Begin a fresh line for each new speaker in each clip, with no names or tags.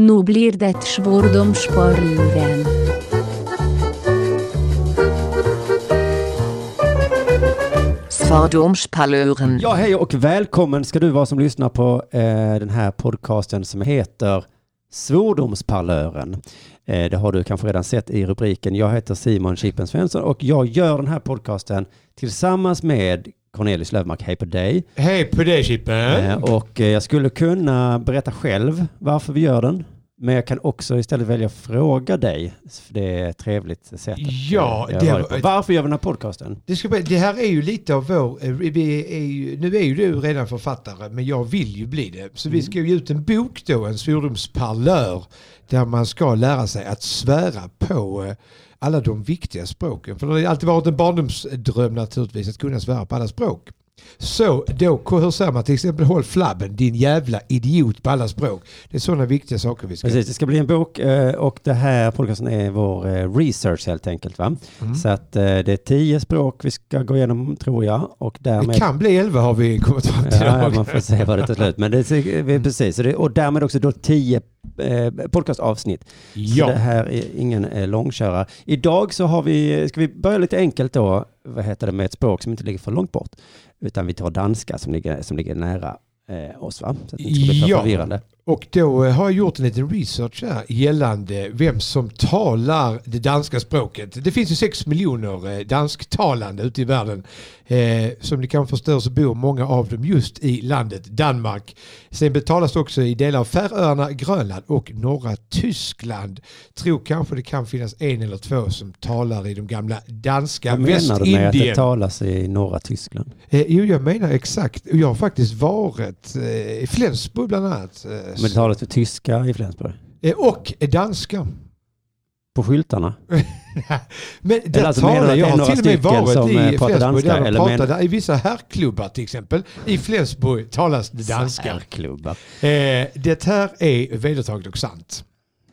Nu blir det svordomsparluren.
Svordomspalören.
Ja, hej och välkommen ska du vara som lyssnar på eh, den här podcasten som heter Svordomsparlören. Eh, det har du kanske redan sett i rubriken. Jag heter Simon Chippen Svensson och jag gör den här podcasten tillsammans med Cornelius Lövmark, hej på dig.
Hej på dig Chippen!
Eh, och eh, jag skulle kunna berätta själv varför vi gör den. Men jag kan också istället välja att fråga dig, för det är ett trevligt sätt. att, eh,
Ja,
göra
det var-
radio på. Varför gör vi den här podcasten?
Det, ska, bli- det här är ju lite av vår, eh, vi är ju, nu är ju du redan författare men jag vill ju bli det. Så vi
Mm.
ska ju ge ut en bok då, en svordomsparlör, där man ska lära sig att svära på eh, alla de viktiga språken. För det har ju alltid varit en barndomsdröm naturligtvis att kunna svära på alla språk. Så då, k- hur säger man till exempel håll flabben din jävla idiot på alla språk. Det är sådana viktiga saker vi ska
Precis, det ska bli en bok eh, och det här podcasten är vår eh, research helt enkelt. Va?
Mm.
Så att eh, det är tio språk vi ska gå igenom tror jag. Och därmed,
Det kan bli elva har vi kommit fram till.
ja, ja, man får se vad det tar slut. Men det är,
Mm.
vi- precis, Så det, och därmed också då tio eh, podcastavsnitt. Så det här är ingen eh, långkörare. Idag så har vi, ska vi börja lite enkelt då, vad heter det, med ett språk som inte ligger för långt bort. Utan vi tar danska som ligger, som ligger nära eh, oss va? Så att det inte ska bli för
Ja.
förvirrande.
Och då eh, har jag gjort en liten research här gällande vem som talar det danska språket. Det finns ju 6 miljoner eh, dansktalande ute i världen. Eh, som ni kan förstå så bor många av dem just i landet Danmark. Sen betalas det också i delar av Färöarna, Grönland och norra Tyskland. Tror kanske det kan finnas en eller två som talar i de gamla danska
Vad menar du med att det
Västindien.
talas i norra Tyskland?
Eh, jo, jag menar exakt. Och Jag har faktiskt varit eh, i Flensburg bland annat. eh,
Men det talas för tyska i Flensburg?
Eh, Och danska.
På skyltarna?
Men där
alltså, menar du
talar
att det är
jag har
några
till och med
stycken som,
varit
eh,
i
pratar
Flensburg
danska,
där de
eller
pratar,
menar-
i vissa herrklubbar till exempel. I Flensburg talas det danska.
Särklubbar.
Eh, det här är vedertaget och sant.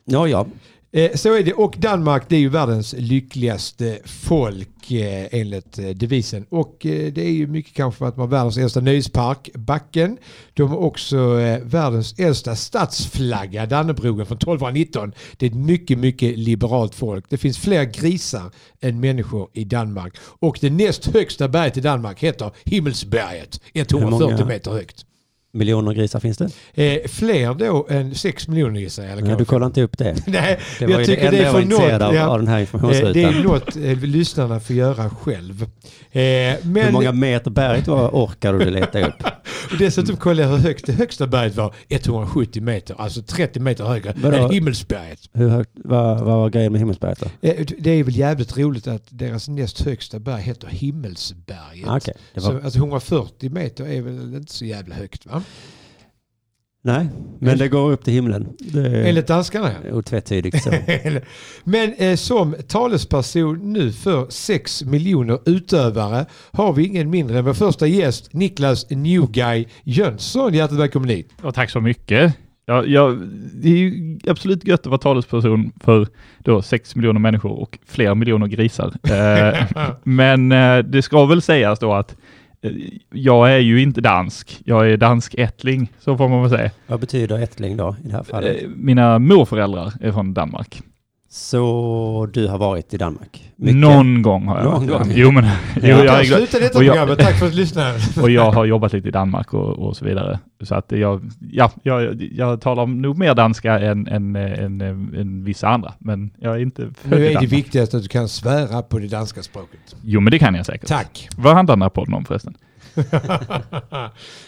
Ja, ja.
Eh, så är det. Och Danmark det är ju världens lyckligaste folk eh, enligt eh, devisen. Och eh, det är ju mycket kanske för att man har världens äldsta nöjespark, Backen. De har också eh, världens äldsta statsflagga, Dannebrogen från 1219. Det är ett mycket, mycket liberalt folk. Det finns fler grisar än människor i Danmark. Och det näst högsta berget i Danmark heter Himmelsberget,
Hur
140
många?
meter högt.
Miljoner grisar finns det?
Eh, fler då än 6 miljoner gissar jag. eller
Nej,
kanske.
du kollar inte upp det.
Nej,
Det var
jag
ju det
tycker det
enda
är
jag var
för
intresserad av,
något. Ja.
av den här
Eh, Det
informationsrutan.
är något eh, lyssnarna får göra själv. Eh,
Hur
Men
många meter berget var orkar du leta upp?
dessutom kollade jag hur högt det högsta berget var. 170 meter, alltså 30 meter högre
Vadå?
än himmelsberget.
Hur högt, vad, vad var grejen med himmelsberget då?
Eh, Det är väl jävligt roligt att deras näst högsta berg heter himmelsberget.
Ah, Okej, det var,
Så, alltså 140 meter är väl inte så jävla högt va?
nej, men det går upp till himlen. Det är
Enligt danskarna. ja.
otvetydigt så.
Men eh, som talesperson nu för 6 miljoner utövare har vi ingen mindre än vår första gäst Niklas Newguy Jönsson. Hjärtligt välkommen hit.
Ja, tack så mycket. Ja, jag, det är ju absolut gött att vara talesperson för då 6 miljoner människor och flera miljoner grisar. Eh, men eh, det ska väl sägas då att eh, jag är ju inte dansk. Jag är dansk ättling, så får man väl säga.
Vad betyder ättling då i det här fallet?
Eh, mina morföräldrar är från Danmark.
Så du har varit i Danmark? Mycket.
Någon gång har jag
Någon
varit
gång.
i Jo, men jo,
Ja.
jag är
Jag
glad.
slutar detta
Och jag-
programmet. Tack för att du lyssnade.
Och jag har jobbat lite i Danmark och, och så vidare. Så att jag, ja, jag, jag talar nog mer danska än, än, eh, än, eh, än vissa andra. Men jag är inte född
Nu
i
är det
Danmark.
viktigaste att du kan svära på det danska språket.
Jo, men det kan jag säkert.
Tack.
Vad handlar den här podden om förresten?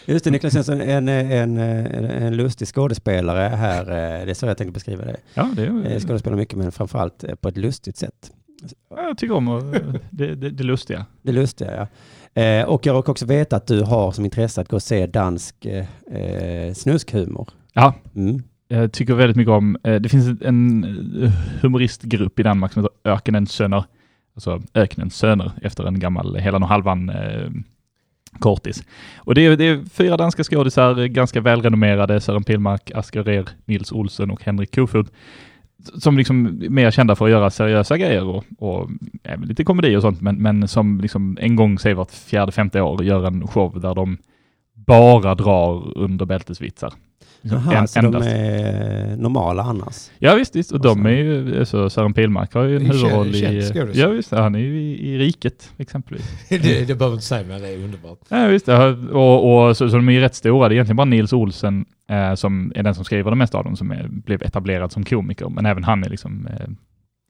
Just det, Niklas Jönsson, en, en, en, en lustig skådespelare här. eh, Det är så jag tänkte beskriva dig.
Ja, det,
Eh, Skådespelar mycket men framförallt eh, på ett lustigt sätt.
jag tycker om eh, det, det, det lustiga.
Det lustiga ja. Eh, och jag råkar också veta att du har som intresse att gå och se dansk eh, eh, snuskhumor.
Ja,
Mm.
jag tycker väldigt mycket om, eh, det finns en eh, humoristgrupp i Danmark som heter Ökenens Söner. Alltså Ökenens Söner efter en gammal Helan och Halvan eh, kortis. Och det är, det är fyra danska skådisar, eh, ganska välrenommerade, Sören Pilmark, Asger Rehr, Nils Olsen och Henrik Kofod. Som liksom är mer kända för att göra seriösa grejer och, och eh, även lite komedi och sånt, men, men som liksom en gång, säg vart fjärde, femte år, gör en show där de bara drar under bältesvitsar. Liksom
Jaha,
en-
så de är normala annars?
Ja visst, visst. och
Och
de
sen-
är ju, alltså, Sören Pilmark har ju en
Det är ju
huvudroll
känd-
i...
känd skådis.
Ja visst, han är ju i, i Riket exempelvis.
det, det behöver du inte säga, men det är underbart.
Ja visst, ja, och, och så, så de är ju rätt stora. Det är egentligen bara Nils Olsen eh, som är den som skriver det mesta av dem som är, blev etablerad som komiker, men även han är liksom eh,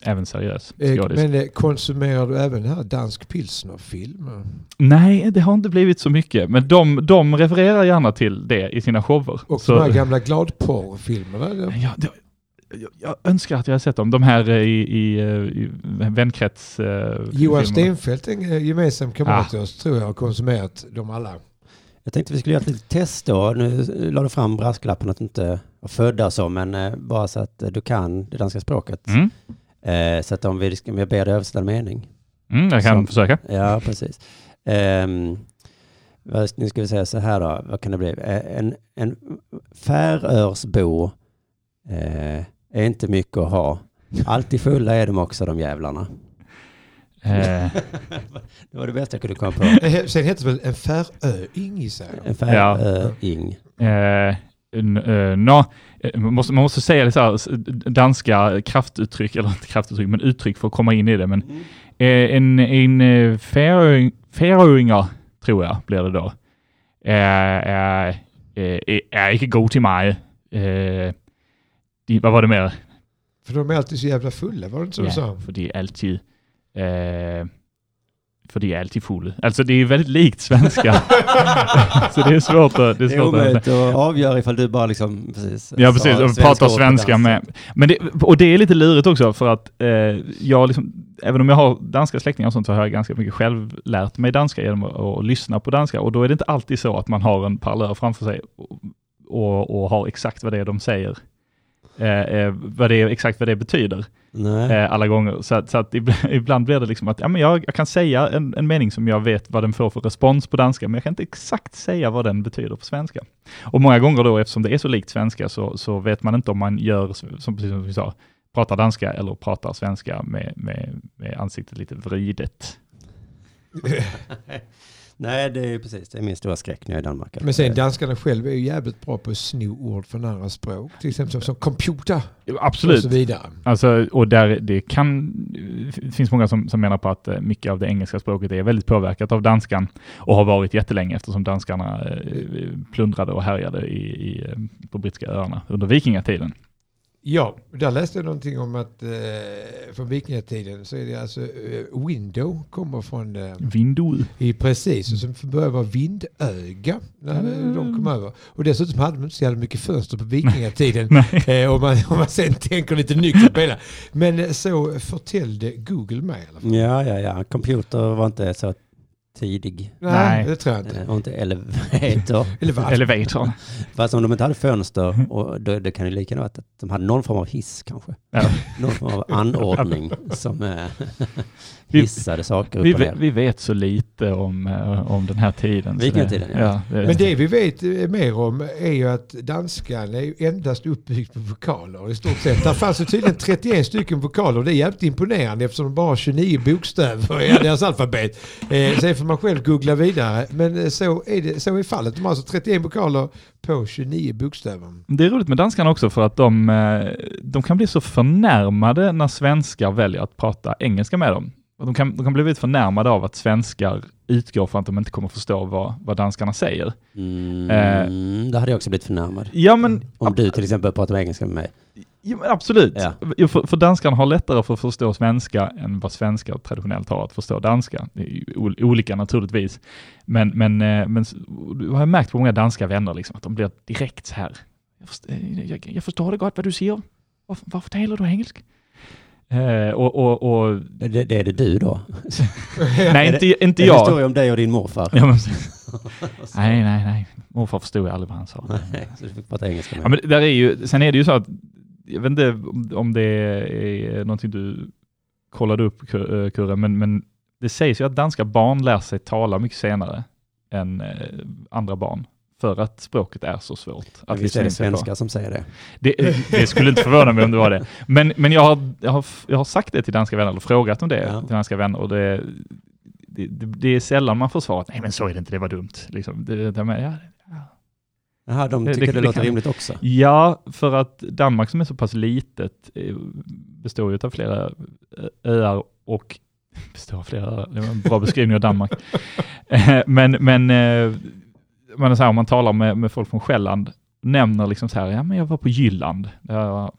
även seriös
Eh,
skådis.
Men eh, konsumerar du även här dansk pilsnerfilm?
Nej, det har inte blivit så mycket, men de, de refererar gärna till det i sina shower.
Och
Så-
de här gamla gladporrfilmerna? eller?
Jag, det- jag, jag önskar att jag hade sett dem. De här eh, i, i, eh, i vänkrets... eh, filmerna.
Johan Stenfeldt, en eh, gemensam
Ah.
kamrat till oss, tror jag har konsumerat dem alla.
Jag tänkte vi skulle göra ett litet test då. Nu la du fram brasklappen att du inte var födda så, men eh, bara så att eh, du kan det danska språket.
Mm.
Eh, så att om, vi, om jag ber dig översätta en mening.
Mm, jag kan
Så.
försöka.
Ja, precis. Ehm, vad- nu ska vi säga så här då, vad kan det bli? Eh, En, en Färörsbo eh, är inte mycket att ha. Alltid fulla är de också, de jävlarna.
Eh,
Det var det bästa jag kunde komma på.
Eh, Sen heter det väl en färöing gissar jag.
En färöing.
eh, n- eh, nå, eh, man, måste, man måste säga det så här, s- danska kraftuttryck, eller inte kraftuttryck, men uttryck för att komma in i det. Men eh, en, en eh, färöing, färöingar, tror jag, blir det då. Eh, eh, eh, eh, är inte god till mig. Eh, de, vad var det mer?
För de är alltid så jävla fulla, var det inte så du sa?
för det är alltid... Eh, för det är alltid full. Alltså det är väldigt likt svenska. så det är svårt att... Det är
Det är
svårt att
omöjligt att avgöra ifall du bara liksom, precis. sa
Ja, precis. Och
svenska
pratar
ord på
svenska
danska.
med. Men det, och det är lite lurigt också för att eh, jag liksom, även om jag har danska släktingar och sånt så har jag ganska mycket själv lärt mig danska genom att, att lyssna på danska och då är det inte alltid så att man har en parlör framför sig och, och, och har exakt vad det är de säger. Eh, eh, vad det är, exakt vad det betyder
Nej.
eh, alla gånger. Så, att- så att ibland, ibland blir det liksom att ja, men jag, jag kan säga en, en mening som jag vet vad den får för respons på danska, men jag kan inte exakt säga vad den betyder på svenska. Och många gånger då, eftersom det är så likt svenska, så, så vet man inte om man gör, som som precis som vi sa, pratar danska eller pratar svenska med, med, med ansiktet lite vridet.
Nej, det är ju precis. Det är min stora skräck när jag är i Danmark.
Men
Eh.
sen danskarna själva är ju jävligt bra på att sno ord från andra språk. Till exempel som, som computer och så
Absolut.
vidare.
Alltså, och där det kan, det finns många som, som menar på att eh, mycket av det engelska språket är väldigt påverkat av danskan och har varit jättelänge eftersom danskarna eh, plundrade och härjade i, i, eh, på brittiska öarna under vikingatiden.
Ja, där läste jag någonting om att eh, från vikingatiden så är det alltså eh, window kommer från eh,
Vindul.
i precis och sen började vara vindöga när
Mm.
de kom över. Och dessutom hade de inte så jävla mycket fönster på vikingatiden. Eh, om, man, om man sen tänker lite nyktert på hela. Men eh, så förtällde Google mig i alla fall.
Ja, ja, ja. Computer var inte så tidig.
Nej.
det tror jag inte.
Eh, Och inte elevator.
Eller vad?
Elevator.
Fast om de inte hade
Mm.
fönster, och då, det kan ju lika gärna vara att de hade någon form av hiss kanske.
Ja.
Någon form av anordning som eh,
Vi-
hissade saker
Vi,
upp och
ve-
ner.
vi vet så lite om, eh, om den här tiden. så
Vikingatiden,
det-
ja.
ja. det-
Men det vi vet eh, mer om är ju att danskan är ju endast uppbyggd på vokaler i stort sett. Där fanns det tydligen 31 stycken vokaler och det är jävligt imponerande eftersom de bara har 29 bokstäver i deras alfabet. Eh, sen får man själv googla vidare. Men eh, så är, det, så är fallet. De har alltså 31 vokaler på 29 bokstäver.
Det är roligt med danskarna också för att de, eh, de kan bli så förnärmade när svenskar väljer att prata engelska med dem. Och De kan, de kan bli väldigt förnärmade av att svenskar utgår från att de inte kommer förstå vad, vad danskarna säger. Eh.
Mm, då hade jag också blivit förnärmad.
Ja men,
Om du till exempel pratar engelska med mig.
ja, men absolut.
Ja.
Jo, För, för danskarna har lättare för att förstå svenska än vad svenskar traditionellt har att förstå danska. Det är ju ol- olika naturligtvis. Men, men, eh, men s- du har jag märkt på många danska vänner liksom, att de blir direkt så här. Jag förstår, jag, jag förstår det gott vad du säger. Varför, varför talar du engelsk? Eh, och, och, och,
Det, det är det du då?
nej,
Är
inte, inte
Det
jag.
står ju om dig och din morfar.
Ja, men, nej, nej, nej. Morfar förstod aldrig vad han sa.
Så du fick prata engelska med
Ja, men där är ju, sen är det ju så att, jag vet inte om- om det är någonting du kollade upp Kur- eh, Kurre, men, men det sägs ju att danska barn lär sig tala mycket senare än eh, andra barn för att språket är så svårt. Att
Visst är det
lyssna in sig på.
svenskar som säger det?
Det, det skulle inte förvåna mig om det var det. Men, men jag, har, jag, har, jag har sagt det till danska vänner, eller frågat om det
Ja.
till danska vänner, och det, det, det, det är sällan man får svaret, nej men så är det inte, det var dumt. Liksom, det, det, men, ja,
Jaha, de
Det-
tycker det,
det- det
låter
kan-
rimligt också.
Ja, för att Danmark som är så pass litet eh, består ju av flera ö- öar och består av flera öar, det var en bra beskrivning av Danmark. Eh, men men eh, man så här, om man talar med, med folk från Själland, nämner liksom så här, ja men jag var på Jylland, ja,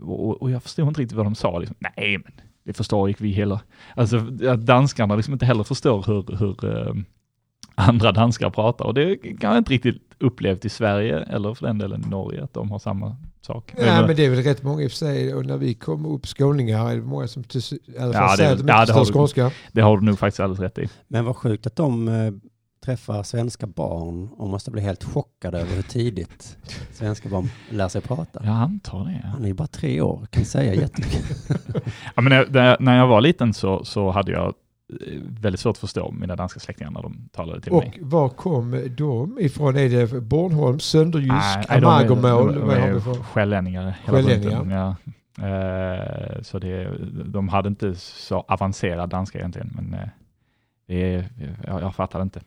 och, och jag förstod inte riktigt vad de sa. Liksom. Nej, men det förstår ju inte vi heller. Alltså att danskarna liksom inte heller förstår hur, hur eh, andra danskar pratar och det kan jag inte riktigt upplevt i Sverige eller för den delen i Norge att de har samma sak.
Nej, men det är väl rätt många i och för sig. Och när vi kom upp skåningar är det många som till, i alla fall
Ja, det är
säger
väl-
att de
ja,
inte
det har
förstår
vi-
skånska.
Det har du nog faktiskt alldeles rätt i.
Men vad sjukt att de eh, träffar svenska barn och måste bli helt chockade över hur tidigt svenska barn lär sig prata.
Jag antar det. ja.
Han är ju bara tre år, kan säga jättemycket.
Ja, men när- när- när jag var liten så, så hade jag eh, väldigt svårt att förstå mina danska släktingar när de talade till mig.
Och var kom de ifrån? Är det Bornholm,
Nej,
Sönderjysk,
nej, de är-
Amagermål?
de
Vad har
är
vi för-
Skällänningar. hela
Skällänningar.
bunten, Ja. Eh, Så det, de hade inte så avancerad danska egentligen, men eh, det, är- jag, jag fattade inte.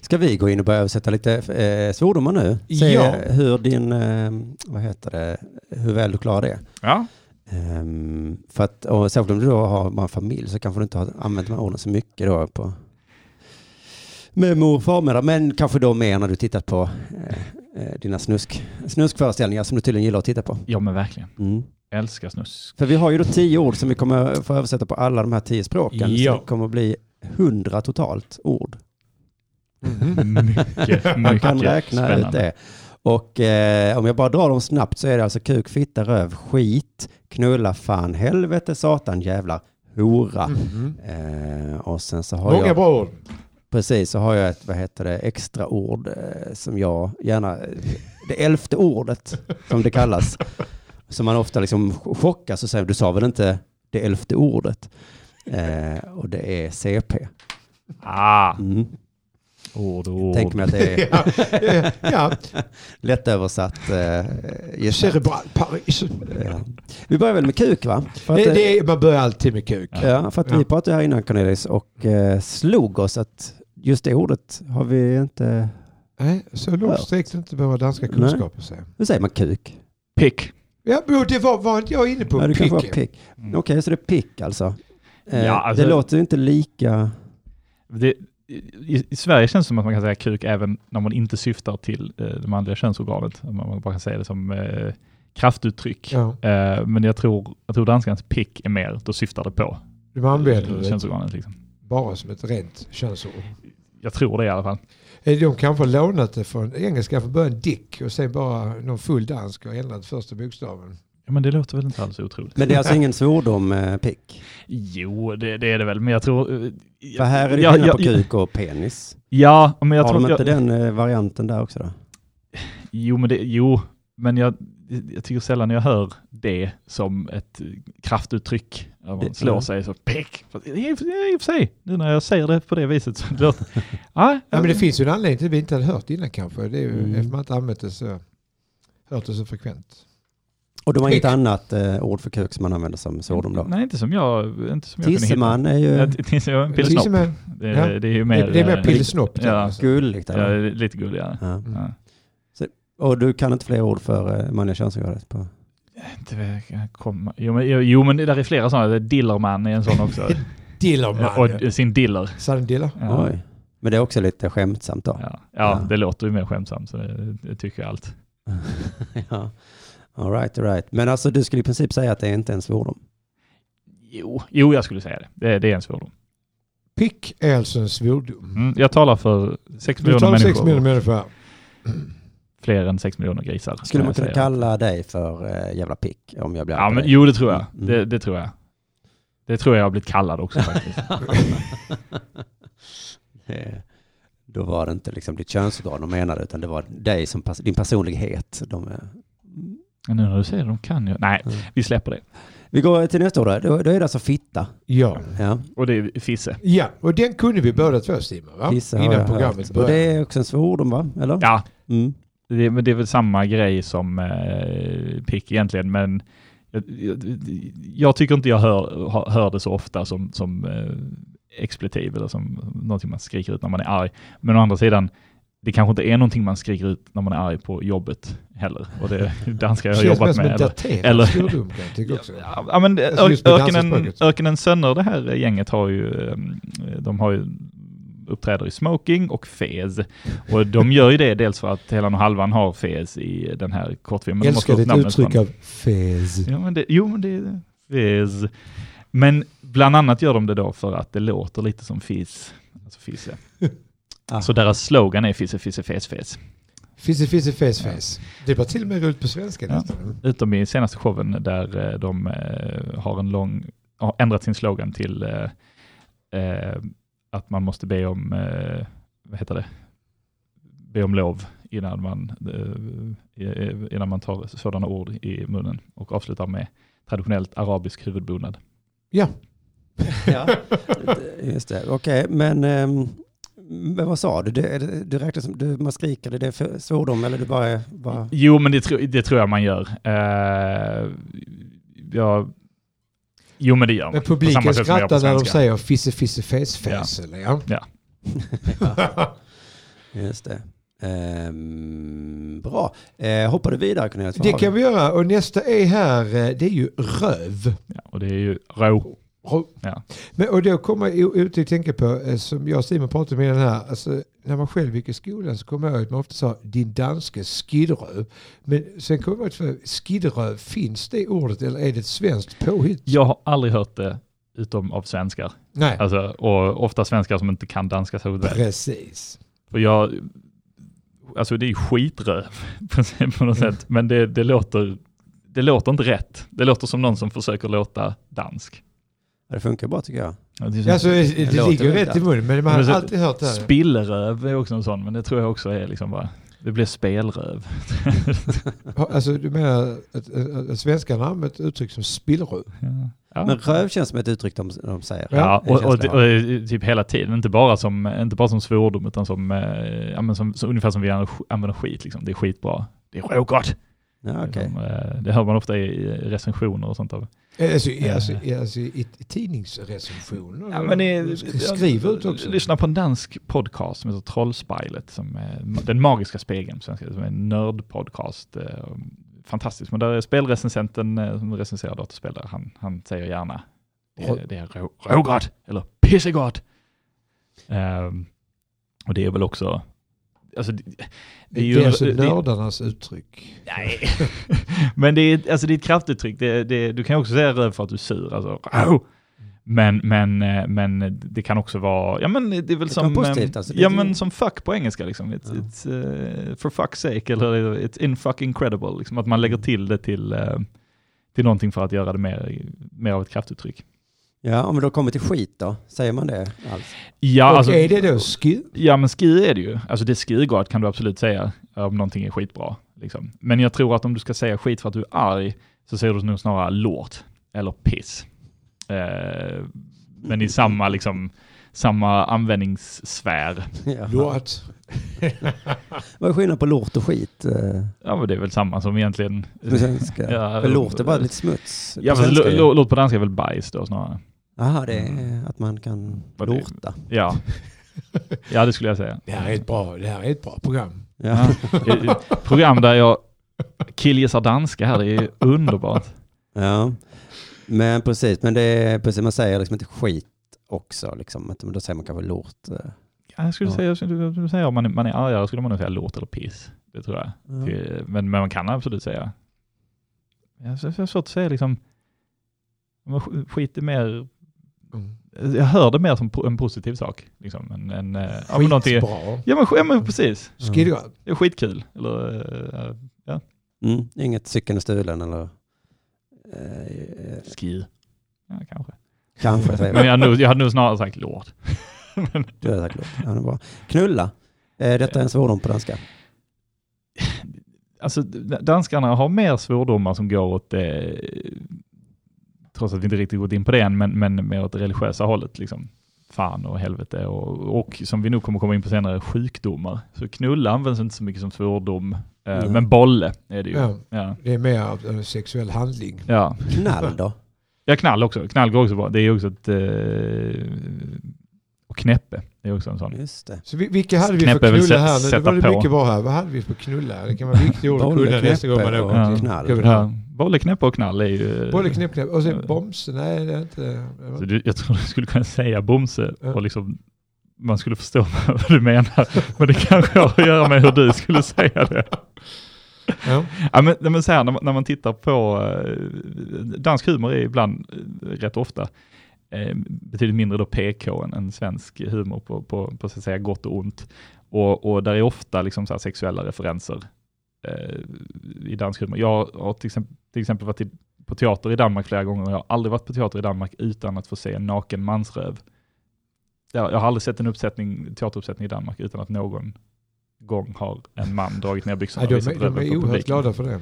Ska vi gå in och börja översätta lite eh, svordomar nu? Se
Ja.
hur din, eh, vad heter det, hur väl du klarar det.
Ja,
Ehm, för att, och särskilt om du då har bara en familj så kanske du inte har använt de här orden så mycket då på med mor och farmödrar, men kanske då mer när du tittat på eh, eh, dina snusk, snuskföreställningar som du tydligen gillar att titta på.
ja men verkligen.
Mm.
Älskar snus.
För vi har ju då tio ord som vi kommer få översätta på alla de här tio språken.
Ja.
Så det kommer bli hundra totalt ord.
Mm-hmm.
Mhm.
Mycket,
Man kan
mycket
räkna ut
spännande.
det. Och eh, om jag bara drar dem snabbt så är det alltså kuk, fitta, röv, skit, knulla, fan, helvete, satan, jävlar, hora.
Mhm.
Eh, och sen så har
Många
jag,
bra ord.
precis, så har jag ett, vad heter det, extra ord eh, som jag gärna, det elfte ordet som det kallas, som man ofta liksom ch- chockas och säger, du sa väl inte det elfte ordet? Eh, och det är CP.
Ah,
Mm.
ord, ord.
Tänk mig att det är
Ja, eh, ja.
lättöversatt. Eh, gissar.
cerebral Paris.
ja. Vi börjar väl med kuk va? För att,
Det,
eh,
det är, man börjar alltid med kuk.
Ja, för att vi
Ja.
pratade här innan Cornelis och eh, slog oss att just det ordet har vi inte...
Nej, så långt sträckte inte våra danska
Nej.
kunskaper sig.
Hur säger man kuk?
Pick.
Ja, jo, det var, var inte jag inne på.
Ja, det kanske var
picken.
pick.
Mm.
Okej, så det är pick alltså. Eh,
Ja, alltså-
Det låter ju inte lika...
Det, i, I Sverige känns det som att man kan säga kuk även när man inte syftar till eh, det manliga könsorganet. Att Man man bara kan säga det som eh, kraftuttryck.
Ja,
Eh, men jag tror, jag tror danskans pick är mer, då syftar det på
de använder det
könsorganet. Liksom.
bara som ett rent könsord.
Jag tror det i alla fall.
Eh, De kanske har lånat det från engelska från början, dick, och sen bara någon full dansk och ändrat första bokstaven.
Ja, men det låter väl inte alls otroligt?
Men det är alltså ingen svordom, eh, pick.
Jo, det, det är det väl, men jag tror... eh,
För här är det
Ja,
skillnad
ja,
på kuk och penis.
Ja, men jag
har
tror...
de
jag-
inte den eh, varianten där också då?
Jo, men, det, jo, men jag, jag tycker sällan jag hör det som ett eh, kraftuttryck. Att
Det-
Man slår
ja.
sig så peck. Fast det är- det är I och för sig, nu när jag säger det på det viset så låter ah,
Ja, men det finns ju en anledning till att vi inte hade hört innan kanske. Det är ju
Mm.
eftersom man inte använt det så, hört det så frekvent.
Och de har
Pick.
inget annat eh, ord för kuk som man använder som svordom då?
Nej, inte som jag, inte som jag kunde hitta.
Tisseman är ju
Ja, t- Tisse, ja, en
Precis som
pillsnopp.
liksom en-
Det,
ja.
det är ju
Det,
mer...
det är mer
eh,
pillsnopp.
ja.
Ja.
gulligt.
Ja,
eller?
det är lite gulligare.
Ja.
Mm.
Ja.
Och du kan inte fler ord för eh, manliga könsorganet? På.
Inte vad jag kan komma- Jo, men, jo, jo, men det där är flera sådana. Dillerman är en sån också.
Dillerman.
Och
ja.
sin diller.
Sanne Diller.
Ja.
Oj. Men det är också lite skämtsamt då?
Ja.
Ja.
ja, det låter ju mer skämtsamt, så det, det tycker jag allt.
ja. All right, all right. Men alltså du skulle i princip säga att det inte är en svordom?
Jo, jo jag skulle säga det. Det, det är en svordom.
Pick är alltså en svordom.
Mm, jag talar för sex
Du
miljoner
tar
människor.
sex miljoner människor.
Fler än sex miljoner grisar.
Skulle
kan
man
jag
kunna
säga.
kalla dig för eh, jävla pick om jag blir
Ja,
arg på
men,
dig?
jo, det tror jag.
Mm.
Det, det tror jag. Det tror jag jag har blivit kallad också faktiskt.
Eh, Då var det inte liksom ditt könsorgan de menade, utan det var dig som pers- din personlighet. De, eh,
Men nu när du säger det, de kan ju. Nej,
Mm.
vi släpper det.
vi går till nästa ord. då. Då, då är det alltså fitta.
Ja.
Ja,
Och det är fisse.
ja, och den kunde vi båda två Simon va?
fissa har
Innan
jag
programmet
hört. Och det
började.
är också en svordom va? Eller?
Ja,
Mm.
det, men det är väl samma grej som eh, pick egentligen, men jag, jag, jag tycker inte jag hör, hör- hör det så ofta som, som eh, expletiv eller som någonting man skriker ut när man är arg. Men å andra sidan, det kanske inte är någonting man skriker ut när man är arg på jobbet heller. Och det är danskar jag har
Känns mest
jobbat
som
med.
en
Eller,
daterad
eller-
svordom kan jag tycka också.
ja, men
Alltså just med
öknen,
dansarspråket.
öknen Sönder, det här gänget har ju, eh, de har ju uppträder i smoking och fez. Och de gör ju det dels för att Helan och Halvan har fez i den här
Jag
kortfilmen. De har
älskar
fått
ditt
namnet
uttryck
från-
av fez.
Ja, men det, jo, men det är fizz. Men bland annat gör de det då för att det låter lite som fizz. Alltså fisse.
Ah.
Så deras slogan är fisse, fisse, fes, fes.
Fizzy fizzy fez fez. Det var till och med roligt på svenska
Ja.
nästan.
Utom i senaste showen där eh, de eh, har en lång, har ändrat sin slogan till eh, eh, att man måste be om, eh, vad heter det, be om lov innan man, eh, eh, innan man tar sådana ord i munnen och avslutar med traditionellt arabisk huvudbonad.
Ja. Just det, okej, men, ehm, men vad sa du? Du, är det- du räknar som, du, man skriker, det är för svordom eller du bara, bara
Jo, men det, tro, det tror jag man gör. Eh, ja, jo, men det gör man.
Men
På samma
publiken
sätt som man gör på
skrattar när de
svenska.
säger fizzy fizzy fez fez. Eller, ja.
Just det. Ehm, bra. Eh, hoppar du vidare Cornelis? Vad
Det
har
kan
vi?
vi göra. Och nästa är här, eh, det är ju röv.
Ja, och det är ju rå.
Rå-
Ja.
Men, och då kommer jag ut och tänka på, eh, som jag och Simon pratade om i den här, alltså, när man själv gick i skolan så kommer jag ihåg att man ofta sa din danske skidröv. Men sen kommer jag ihåg att skidröv, finns det ordet eller är det ett svenskt påhitt?
Jag har aldrig hört det utom av svenskar.
Nej,
Alltså, och ofta svenskar som inte kan danska särskilt väl.
precis.
Och jag, alltså det är ju skitröv på något sätt, men det, det, låter, det låter inte rätt. Det låter som någon som försöker låta dansk.
Ja, Det funkar bra tycker jag.
Ja, det är så-
Alltså, det, det
låter
ligger ju
väl
rätt i munnen men man
Men
har
så-
alltid hört det. här.
Spilleröv är också en sån, men det tror jag också är liksom bara, det blir spelröv.
Ha- Alltså du menar att, att, att svenskarna använder ett uttryck som spillror?
Ja.
Men röv känns som ett uttryck de, de säger.
Ja,
det
och, och,
känns det,
och, typ hela tiden, inte bara som, inte bara som svordom utan som, eh, ja, men som, som ungefär som vi an- använder skit liksom. Det är skitbra. Det är rågott.
Ja, okej.
Som, eh, Det hör man ofta i i recensioner och sånt. Av.
Eh, Alltså, i-
Eh.
alltså, i- alltså i, i tidningsrecensioner?
Ja, men det,
Sk- Skriver ut också?
Lyssna på en dansk podcast som heter Trollspejlet, som är den magiska spegeln på svenska, som är en nördpodcast. eh, Fantastisk, men där är spelrecensenten eh, som recenserar datorspel, där han, han säger gärna det är, det är rå- rågott eller pissegott. Ehm, och det är väl också, alltså det,
Det är ju alltså nördarnas uttryck.
Nej, men det är, alltså det är ett kraftuttryck. Det, det, du kan ju också säga röv för att du är sur. Alltså. "Au!" Men, men, eh, men det kan också vara, ja men det är väl
Det kan
som,
vara positivt,
eh,
alltså. Det
ja,
är-
men som fuck på engelska liksom. It's,
Ja.
it's, eh, for fuck's sake eller it's in fucking credible. Liksom. Att man lägger till det till, eh, till någonting för att göra det mer, mer av ett kraftuttryck.
Ja, om vi då kommer till skit då, säger man det alls?
Ja,
och
alltså,
är det då sku?
Ja men skri är det ju. Alltså det är skrigott kan du absolut säga om någonting är skitbra. Liksom. Men jag tror att om du ska säga skit för att du är arg så säger du nog snarare lort eller piss. Eh, men i samma, liksom, samma användningssfär.
Ja.
Låt.
Vad är skillnaden på lort och skit? eh,
Ja men det är väl samma som egentligen...
På svenska?
Ja,
För lort är bara lite smuts.
Ja,
På
fast
svenska,
lo- lo- lort på danska är väl bajs då snarare.
Jaha, det är att man kan
Vad det-
lorta.
Ja. ja det skulle jag säga.
Det här är ett bra, det här är ett bra program.
Ja.
Eh, eh, Program där jag killgissar danska här, det är ju underbart.
ja, men precis. Men det är precis, man säger liksom inte skit också liksom. att- men Då säger man kanske lort. eh.
Ja, Jag skulle
Ja.
säga, jag skulle, jag skulle säga om man, är- man är argare skulle man nog säga låt eller piss. Det tror jag.
Ja.
Det- eh, Men, men man kan absolut säga. Jag har så- så svårt att säga liksom. Man sk- skiter mer.
Mm.
Jag hör det mer som po- en positiv sak. Liksom. En, en, eh, ja, men någonting, Mm.
Skitbra.
ja, men, sk- ja men precis.
Skidor.
Det är skitkul. Eller, eh,
Mm. Inget cykeln är stulen eller? Eh,
Ski. Ja, kanske.
kanske säger
Men
man.
jag hade nog, jag hade nog snarare sagt låt.
Du har sagt lort. Ja, det är bra. Knulla. Eh, detta är en svordom på danska.
Alltså d- danskarna har mer svordomar som går åt det, trots att vi inte riktigt gått in på det än, men, men mer åt det religiösa hållet. Liksom. Fan och helvete och, och som vi nog kommer komma in på senare, sjukdomar. Så knulla används inte så mycket som svordom, eh,
Nej.
men bolle är det ju. Ja.
Ja,
Ja.
det är mer av en sexuell handling.
Ja.
Knall då?
knall också. Knall går också bra. Det är också ett... Eh, Okej, Och knäppe, det är också en sån.
Just det.
Så vi- vilka hade vi
Knäpp är
för
väl
knulla
sä-
här nu? Det var
sätta
det
på.
mycket bra här. Vad hade vi för knulla? Det kan vara viktigt ord att kunna nästa gång man
Bolleknäppe
åker
och
till
knall.
Gubben.
Ja, Bolle, knäppe och knall är ju...
Både knäppknäpp och sen bomse. Nej, det är inte... det var
Så
inte-
du, jag tror du skulle kunna säga bomse
Ja.
och liksom man skulle förstå vad du menar. Men det kanske har att göra med hur du skulle säga det.
Ja.
Ja, men, nej, men så här, när, man, när man tittar på eh, dansk humor är ibland, eh, rätt ofta, eh, betydligt mindre då PK än, än svensk humor på, på, på så att säga gott och ont. Och, och där är ofta liksom så här sexuella referenser eh, i dansk humor. Jag har till exempel, till exempel varit i, på teater i Danmark flera gånger och jag har aldrig varit på teater i Danmark utan att få se en naken mansröv. Jag, jag har aldrig sett en uppsättning, teateruppsättning i Danmark utan att någon gång har en man dragit ner byxorna
Nej, de,
och visat
är- de
röven
är
för
oerhört
publiken.
glada för det.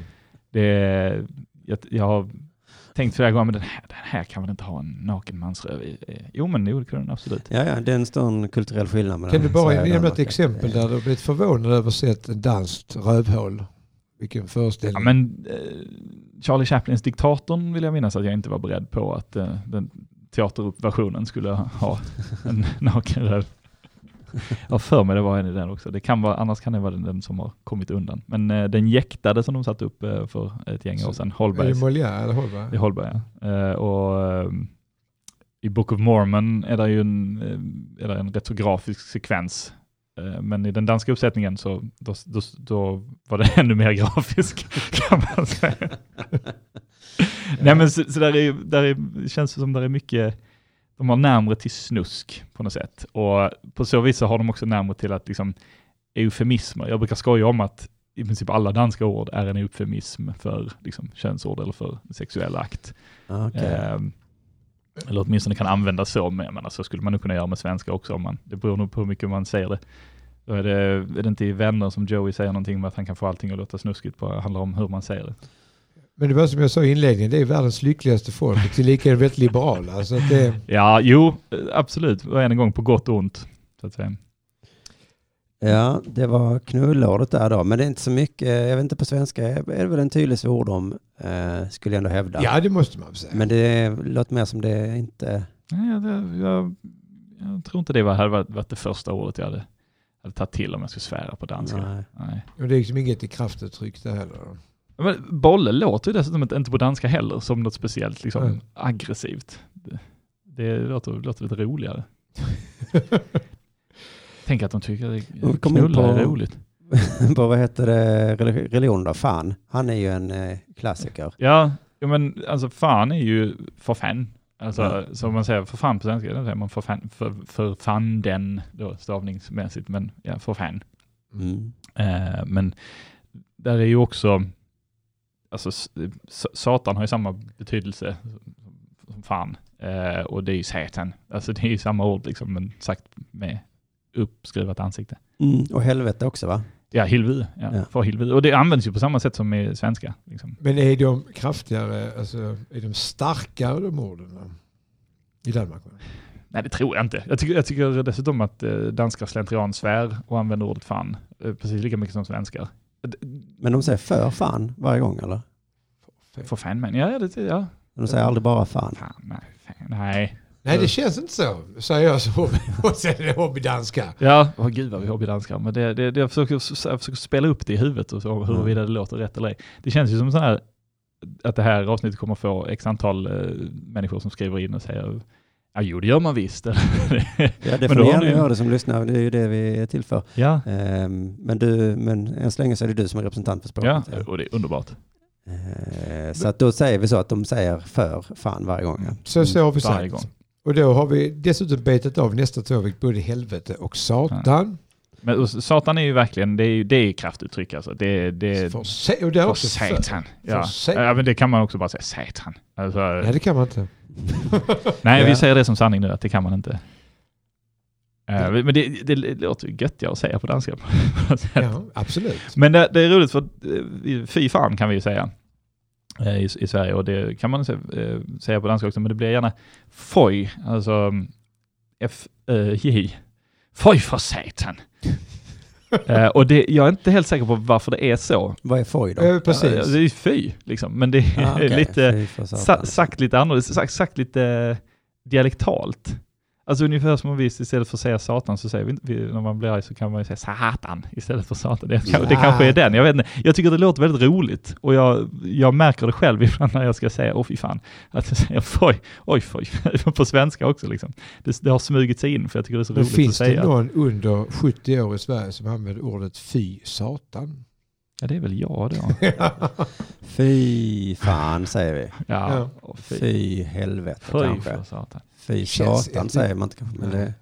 Det är, jag, jag har tänkt flera gånger, men den här, den här kan man inte ha en naken mansröv i. Eh, Jo, men jo, det kunde den absolut.
Ja, ja, det är en sån kulturell skillnad mellan
Kan du bara
Sverige och
nämna ett
Danmark.
exempel där du har blivit förvånad över att se ett danskt rövhål? Vilken
Ja,
föreställning.
men eh, Charlie Chaplins Diktatorn vill jag minnas att jag inte var beredd på att eh, den teaterversionen skulle ha en naken röv. Jag har för mig det var en i den också. Det kan vara, annars kan det vara den, den som har kommit undan. Men eh, den jäktade som de satte upp eh, för ett gäng år sedan,
är det
Holbergs.
Molière eller
i
Holberg?
Holberg. Ja. Eh, och, ehm, I Book of Mormon är det ju en, eh, är det en rätt så grafisk sekvens. Eh, men i den danska uppsättningen så då, då, då var det ännu mer grafisk kan man säga. Nej men så, så där, är, där är, känns det som där är mycket, de har närmare till snusk på något sätt. Och på så vis så har de också närmare till att liksom eufemismer, jag brukar skoja om att i princip alla danska ord är en eufemism för liksom, könsord eller för sexuell akt.
Ja, okej.
Ehm, eller åtminstone kan användas så, men jag menar, så skulle man nog kunna göra med svenska också. Om man, det beror nog på hur mycket man säger det. Då är det, är det inte i Vänner som Joey säger någonting om att han kan få allting att låta snuskigt, bara handlar om hur man säger det.
Men det var som jag sa i inledningen, det är världens lyckligaste folk. Tillika är de väldigt liberala. Så att det,
Ja, jo, eh, absolut. Och än en gång på gott och ont, så att säga.
Ja, det var knullordet där då. Men det är inte så mycket, eh, jag vet inte på svenska, är det väl en tydlig svordom, eh, skulle jag ändå hävda.
ja, det måste man säga.
Men det låter mer som det är inte...
Nej, jag, jag, jag, jag tror inte det var, hade varit, varit det första ordet jag hade, hade tagit till om jag skulle svära på danska. Nej.
Nej.
Och det är liksom inget i kraftuttryck det heller.
Men bolle låter ju dessutom inte inte på danska heller som något speciellt liksom,
Nej.
aggressivt. Det, det låter, låter lite roligare. Tänk att de tycker
Och vi
att
kom in
knulla
på-
är roligt.
på vad heter det, relig- religion då? Fan, han är ju en eh, klassiker.
Ja, ja, men alltså fan är ju för fan. Alltså,
Ja.
Som man säger för fan på svenska, då säger man för fan, för, för fan den då, stavningsmässigt, men ja, för fan.
Mm.
Eh, men där är ju också, alltså s- s- Satan har ju samma betydelse som fan. Eh, och det är ju Satan. Alltså det är ju samma ord liksom, men sagt med uppskruvat ansikte.
Mm. Och helvete också va?
Ja, Hilvi. Ja,
Ja.
För Hilvi. Och det används ju på samma sätt som i svenska. Liksom.
Men är de kraftigare, alltså är de starkare de orden? I Danmark? va?
Nej, det tror jag inte. Jag tycker, jag tycker dessutom att eh, danskar slentrian svär och använder ordet fan eh, precis lika mycket som svenskar.
Men de säger för fan varje gång eller?
För fan, men ja, det, ja.
De säger aldrig bara fan.
Fan, nej, fan, nej.
Nej, det känns inte så, säger jag som och sen är det hobbydanska.
Ja, oh, gud vad vi har danskar. Men det, det, det, jag, försöker, jag försöker spela upp det i huvudet och så, huruvida det låter rätt eller ej. Det känns ju som så här att det här avsnittet kommer få x antal eh, människor som skriver in och säger ja, jo det gör man visst.
Ja, det
Men
får
då
ni
har
gärna
ni-
göra det som lyssnar, det är ju det vi är till för.
ja.
Ehm, men, du, men än så länge så är det du som är representant för
ja,
språket.
och det är underbart.
Ehm, så att då säger vi så att de säger för fan varje gång. Ja.
Så, så har vi
Mm. Varje
sagt.
gång.
Och då har vi dessutom betat av nästa två veckor både helvete och satan.
Men och, Satan är ju verkligen, det är ju det är ju kraftuttryck alltså. Det, det,
För se, och det är
för
också för.
Satan. Ja.
Satan.
ja, men det kan man också bara säga Satan. Alltså,
Nej, det kan man inte.
Mm.
Nej,
Ja.
vi säger det som sanning nu, att det kan man inte. Eh, men det, det, låter ju göttigare att säga på danska.
Ja, absolut.
Men det, det är roligt för att, eh, fy fan kan vi ju säga eh, i, i Sverige och det kan man se, eh, säga på danska också, men det blir gärna foj, alltså F-J. Foj för satan! Eh, och det, jag är inte helt säker på varför det är så.
Vad är foj då?
Eh, precis.
Eh, Det är ju fy, liksom. Men det är
Ah, okej.
lite...
Fy för satan.
Sa, sagt lite annorlunda, sa, sagt lite eh, dialektalt. Alltså ungefär som om vi istället för att säga Satan så säger vi, inte- vi när man blir arg så kan man ju säga Satan istället för Satan. Det, kan- det kanske är den, jag vet inte. Jag tycker det låter väldigt roligt och jag, jag märker det själv ibland när jag ska säga, åh fy fan, att jag säger foj, oj foj, på svenska också liksom. Det, det har smugit sig in för jag tycker det är så
Men
roligt
finns
att
det
säga.
någon under 70 år i Sverige som använder ordet fy satan?
Ja, det är väl jag då.
Fy fan säger vi.
Ja,
Ja.
och fy. Fy,
Fy helvete kanske.
för satan.
Fy
Känns
satan
ett-
säger man inte kanske. Men
Nej.
det...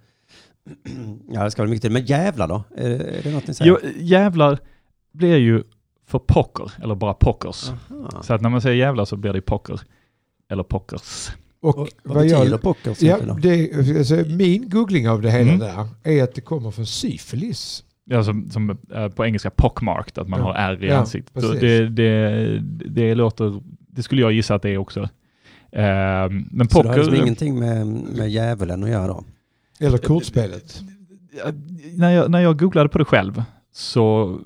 Ja, det ska väl mycket till. Men jävlar då? Är det, är det något ni säger?
Jo, jävlar blir ju för pocker, eller bara pockers.
Aha.
Så att när man säger jävlar så blir det pocker, eller pockers.
Och,
Och, vad
vad
betyder
jag,
pockers?
ja,
egentligen då?
det, alltså, min googling av det hela
Mm.
där är att det kommer från syfilis.
Ja, som, som eh, på engelska pockmarked, att man
Ja.
har R i
Ja,
ansiktet. Så
precis.
det, det, det låter, det skulle jag gissa att det är också. Ehm, men
Så det har
pocker,
liksom ingenting med, med djävulen att göra då?
Eller kortspelet.
eh, när, jag, när jag googlade på det själv så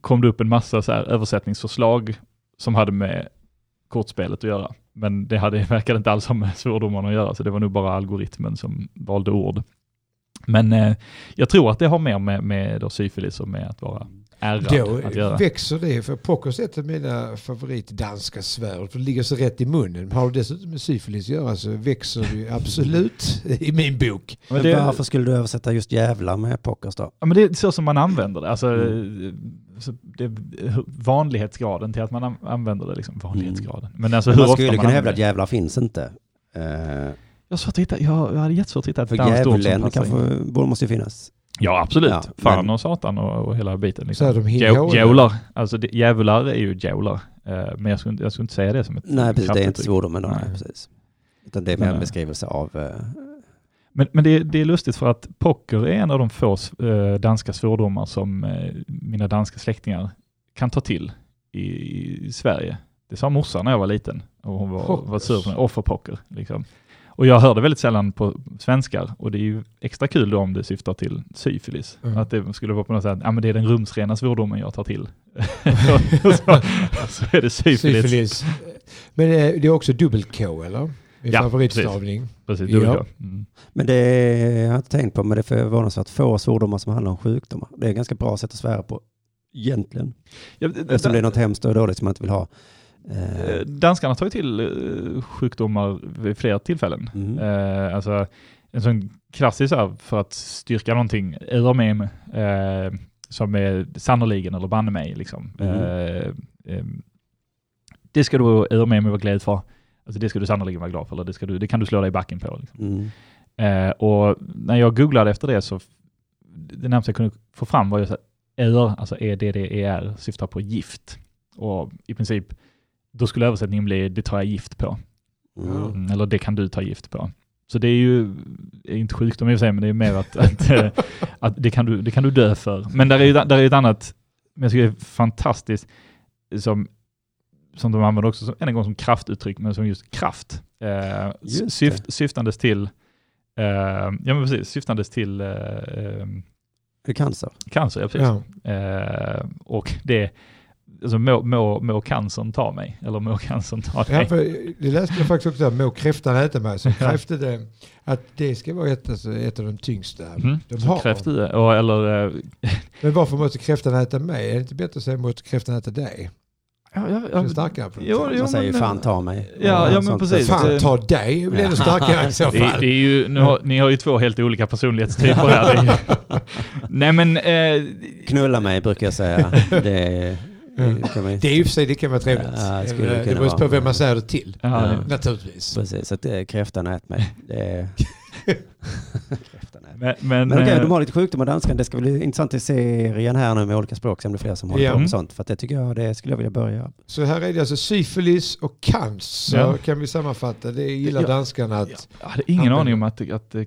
kom det upp en massa så här översättningsförslag som hade med kortspelet att göra. Men det hade, verkade inte alls ha med svordomarna att göra, så det var nog bara algoritmen som valde ord. Men eh, jag tror att det har mer med, med då syfilis och med att vara ärrad att
Då
göra.
växer det, för pockers är ett av mina favoritdanska svärd, för det ligger så rätt i munnen. Har du dessutom med syfilis att göra så växer det ju absolut i min bok.
Men
det-
varför skulle du översätta just jävlar med pockers då?
Ja, men det är så som man använder det. Alltså,
Mm.
eh, så det är vanlighetsgraden till att man an- använder det. Liksom. Vanlighetsgraden. Men alltså hur
Mm. man
ofta
skulle
man
kunna hävda
använder
att
det.
jävlar finns inte. Eh,
Jag, har svårt att hitta, jag, jag hade jättesvårt att hitta ett
för
danskt ord som
djävulen
passar in.
kanske borde- måste ju finnas.
Ja, absolut.
Ja,
Fan
men-
och satan och, och hela biten.
Så
Liksom.
är de
Djå-
hinhåliga.
Djävlar. Alltså det- djävlar är ju djävlar. Eh, Men jag skulle, inte- jag skulle inte säga det som ett
Nej, precis. Det är inte
kraftuttryck.
svordomen då.
Nej.
Nej, precis. Utan det är mer
Nej.
en beskrivelse av... eh,
Men, men det, det är lustigt för att pocker är en av de få eh, danska svordomar som eh, mina danska släktingar kan ta till i, i Sverige. Det sa morsan när jag var liten och hon var,
Pockers.
var sur på offerpocker. Liksom. Och jag hör det väldigt sällan på svenskar och det är ju extra kul då om det syftar till syfilis.
Mm.
Att det skulle vara på något sätt, ja men det är den rumsrena svordomen jag tar till. så, så är det syfilis.
Syfilis. Men eh, det är också dubbel-K, eller? Min
Ja,
favoritstavning.
Precis, du och
Ja.
jag. Mm.
Men det är, jag har inte tänkt på, men det är förvånansvärt få svordomar som handlar om sjukdomar. Det är ett ganska bra sätt att svära på, egentligen.
Ja,
Alltså,
Eftersom det är något hemskt och dåligt som man inte vill ha. Eh,
Eh, Danskarna tar ju till eh, sjukdomar vid flera tillfällen.
Mm.
Eh, alltså, en sån klassisk så här, för att styrka någonting, örmem, eh, som är sannoliken eller banne mig. Liksom.
Mm.
Eh, ehm, det ska du örmem vara glad för. Alltså det ska du sannoliken vara glad för, eller det, ska du, det kan du slå dig i backen på. Liksom.
mm.
Eh, och när jag googlade efter det så, f- det närmaste jag kunde få fram var ju så här, EDDER, alltså E-D-D-E-R, syftar på gift. Och i princip, då skulle översättningen bli det tar jag gift på.
Mm.
Mm, eller det kan du ta gift på. Så det är ju, är inte sjukdom i och för sig, men det är mer att, att, eh, att det, kan du, det kan du dö för. Men där är ju där är ju ett annat, men jag tycker det är fantastiskt, som, som de använder också, som, än en gång som kraftuttryck, men som just kraft. Eh,
Just det.
syft, syftandes till, eh, ja men precis, syftandes till eh, eh,
Är det cancer?
cancer, ja precis.
Ja.
Eh, och det, alltså må, må, må cancern ta mig, eller må cancern ta dig.
Ja, för det läste jag faktiskt också, där, må kräftan äta mig. Så kräfte det att det ska vara ett, alltså, ett av de tyngsta.
Mm.
De
Så
har.
kräft i det. Och, eller, eh,
Men varför måste kräftan äta mig? Är det inte bättre att säga måste kräftan äta dig?
ja, ja,
Det
ja,
är starkare på något
Jo,
sätt.
jo,
man säger ju
men-
fan ta mig.
Ja,
Och
ja, men
sånt.
precis.
Fan ta dig, det blir ännu starkare i så
det, är- det
fall.
är ju, nu har, ni har ju två helt olika personlighetstyper här. Det är ju- Nej men, eh,
Knulla mig brukar jag säga. Det är...
Mm.
Kan man,
Det är ju för sig, det kan vara trevligt. Eh,
Ja, det skulle det
det
kunna
beror på
vara.
vem man säger det till,
ja,
Ja.
naturligtvis.
precis, att eh, kräftan ät mig. Det är... kräftan ät mig.
men, men,
Men okej,
eh,
de har lite sjukdomar danskan. Det ska bli intressant i serien här nu med olika språk, se om det är fler som håller
Ja.
på
Mm.
med sånt. För att det tycker jag, det skulle jag vilja börja.
Så här är det alltså syfilis och cancer
Ja.
kan vi sammanfatta. Det gillar
Ja.
danskarna att...
jag hade ingen
Ja, men-
aning om att, att eh,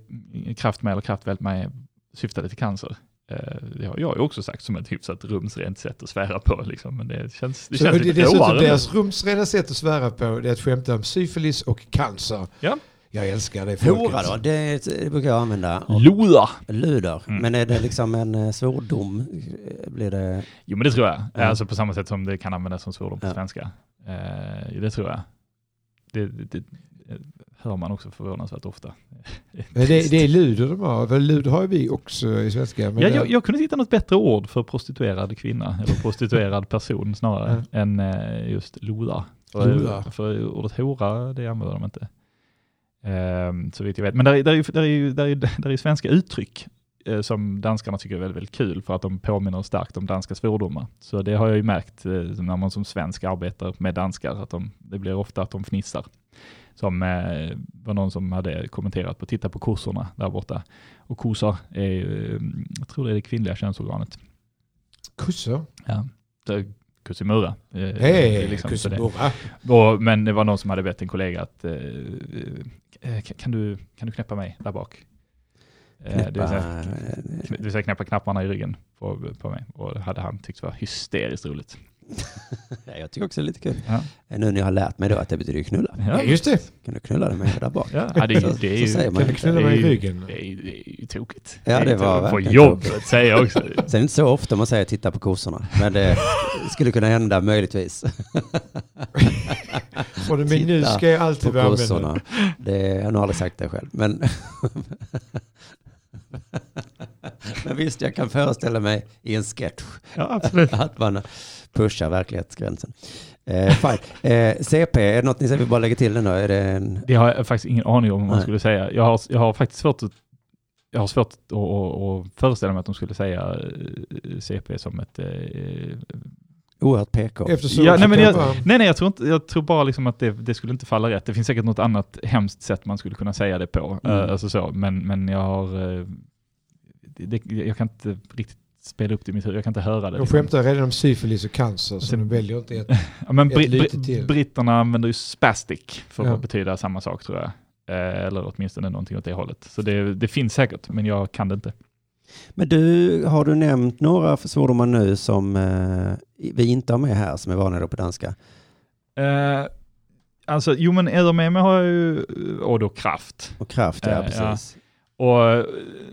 kraft med eller kraftvält med syftade till cancer. Eh, Det har jag ju också sagt som ett hyfsat rumsrent sätt att svära på liksom, men det känns, det
Så,
känns
och det är
lite
dessutom
råare. nu.
deras rumsrena sätt att svära på det är att skämta om syfilis och cancer.
Ja.
Jag älskar det folket.
Hora då, det, det brukar jag använda. Och
Loda!
luder.
Mm.
Men är det liksom en eh, svordom? eh, Blir det...
Jo men det tror jag.
Ja.
Alltså på samma sätt som det kan användas som svordom på
Ja.
svenska. Eh, Det tror jag. Det, det, det, eh, hör man också förvånansvärt ofta.
Men det, det är luder de har, för luder har ju vi också i svenska. Men
Ja,
det-
jag, jag kunde inte hitta något bättre ord för prostituerad kvinna, eller prostituerad person snarare, än eh, just loda. För,
Loda.
för ordet hora, det använder de inte. Ehm, så vitt jag vet. Men där, är- där, är, ju- där, är, ju- där, är, där är ju svenska uttryck eh, som danskarna tycker är väldigt, väldigt kul för att de påminner starkt om danska svordomar. Så det har jag ju märkt eh, när man som svensk arbetar med danskar, att de, det blir ofta att de fnissar. Som eh, var någon som hade kommenterat på Titta på kossorna där borta. Och kossar är, ju, eh, jag tror det är det kvinnliga könsorganet.
Kossor?
Ja. Kussimura. eh,
Hej,
liksom, så det-
kosseburra.
och, men det var någon som hade bett en kollega att eh, eh, kan, du, kan du knäppa mig där bak? Eh, Det vill, säga,
Knäppa, eh,
det vill säga knäppa knapparna i ryggen på, på mig. Och det hade han tyckt var hysteriskt roligt.
Ja, jag tycker också det är lite kul.
Ja.
Nu när jag har lärt mig då att det betyder knulla.
Ja, just det.
Kan du knulla dig med där bak?
Ja, ja, det, är ju- det är
Så säger
ju...
man
Kan du
inte.
knulla mig i
det är ju-
ryggen?
Det är, ju- det är ju tokigt.
Ja, det var
På
verkligen
jobbet säger jag också.
Sen är det inte så ofta man säger titta på kossorna, men det skulle kunna hända möjligtvis.
Och det- Men nu
Titta
ska jag alltid
På
vara användare.
kossorna. Det, jag har nog aldrig sagt det själv, men... men visst, jag kan föreställa mig i en sketch
Ja, absolut.
att man pushar verklighetsgränsen. Eh, fine. Eh, CP, är det något ni säger? Vi bara lägger till den då. Är det en...
Det har jag faktiskt ingen aning om vad man
Nej.
skulle säga. Jag har, jag har faktiskt svårt att jag har svårt att, att, att föreställa mig att de skulle säga eh, CP som ett... eh,
Oerhört PK.
Eftersom
Ja, nej, men jag-
Bara-
Nej, nej, jag tror, inte, jag tror bara liksom att det, det skulle inte falla rätt. Det finns säkert något annat hemskt sätt man skulle kunna säga det på.
Mm.
Eh, Alltså så, men, men jag har... eh, Det, det, jag kan inte riktigt spela upp det i mitt huvud. Jag kan inte höra det. liksom.
De skämtar redan om syfilis och cancer, så
Sen-
de väljer inte ett.
Ja, men
Ett
bri-
lite
bri-
till.
britterna använder ju spastic för
Ja.
att betyda samma sak tror jag. Eh, Eller åtminstone någonting åt det hållet. Så det, det finns säkert, men jag kan det inte.
Men du, har du nämnt några svordomar nu som eh, vi inte har med här, som är vanliga då på danska?
Eh, alltså, jo men edamame har jag ju, eh, och då kraft.
Och kraft, ja,
Eh,
precis.
Och eh,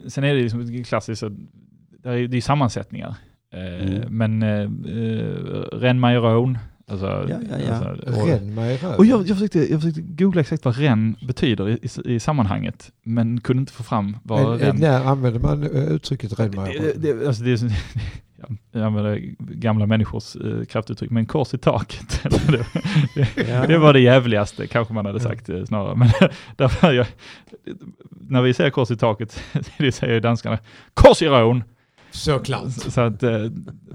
sen är det liksom klassiskt, så, det är ju det är sammansättningar. Eh,
Mm.
Men eh, eh, renmajeron, alltså...
Ja, ja, ja.
alltså och,
Ränn mig i röven.
och jag, jag, försökte, jag försökte googla exakt vad ren betyder i, i, i sammanhanget, men kunde inte få fram vad
Men, eh,
ren...
När använder man eh, uttrycket ränn mig i
Det,
röven?
det, alltså det är, så- jag använder gamla människors eh, kraftuttryck, men kors i taket. det,
Ja.
det var det jävligaste, kanske man hade sagt eh, snarare. Men därför jag, när vi säger kors i taket, det säger ju danskarna kors i rön.
Såklart.
Så att, eh,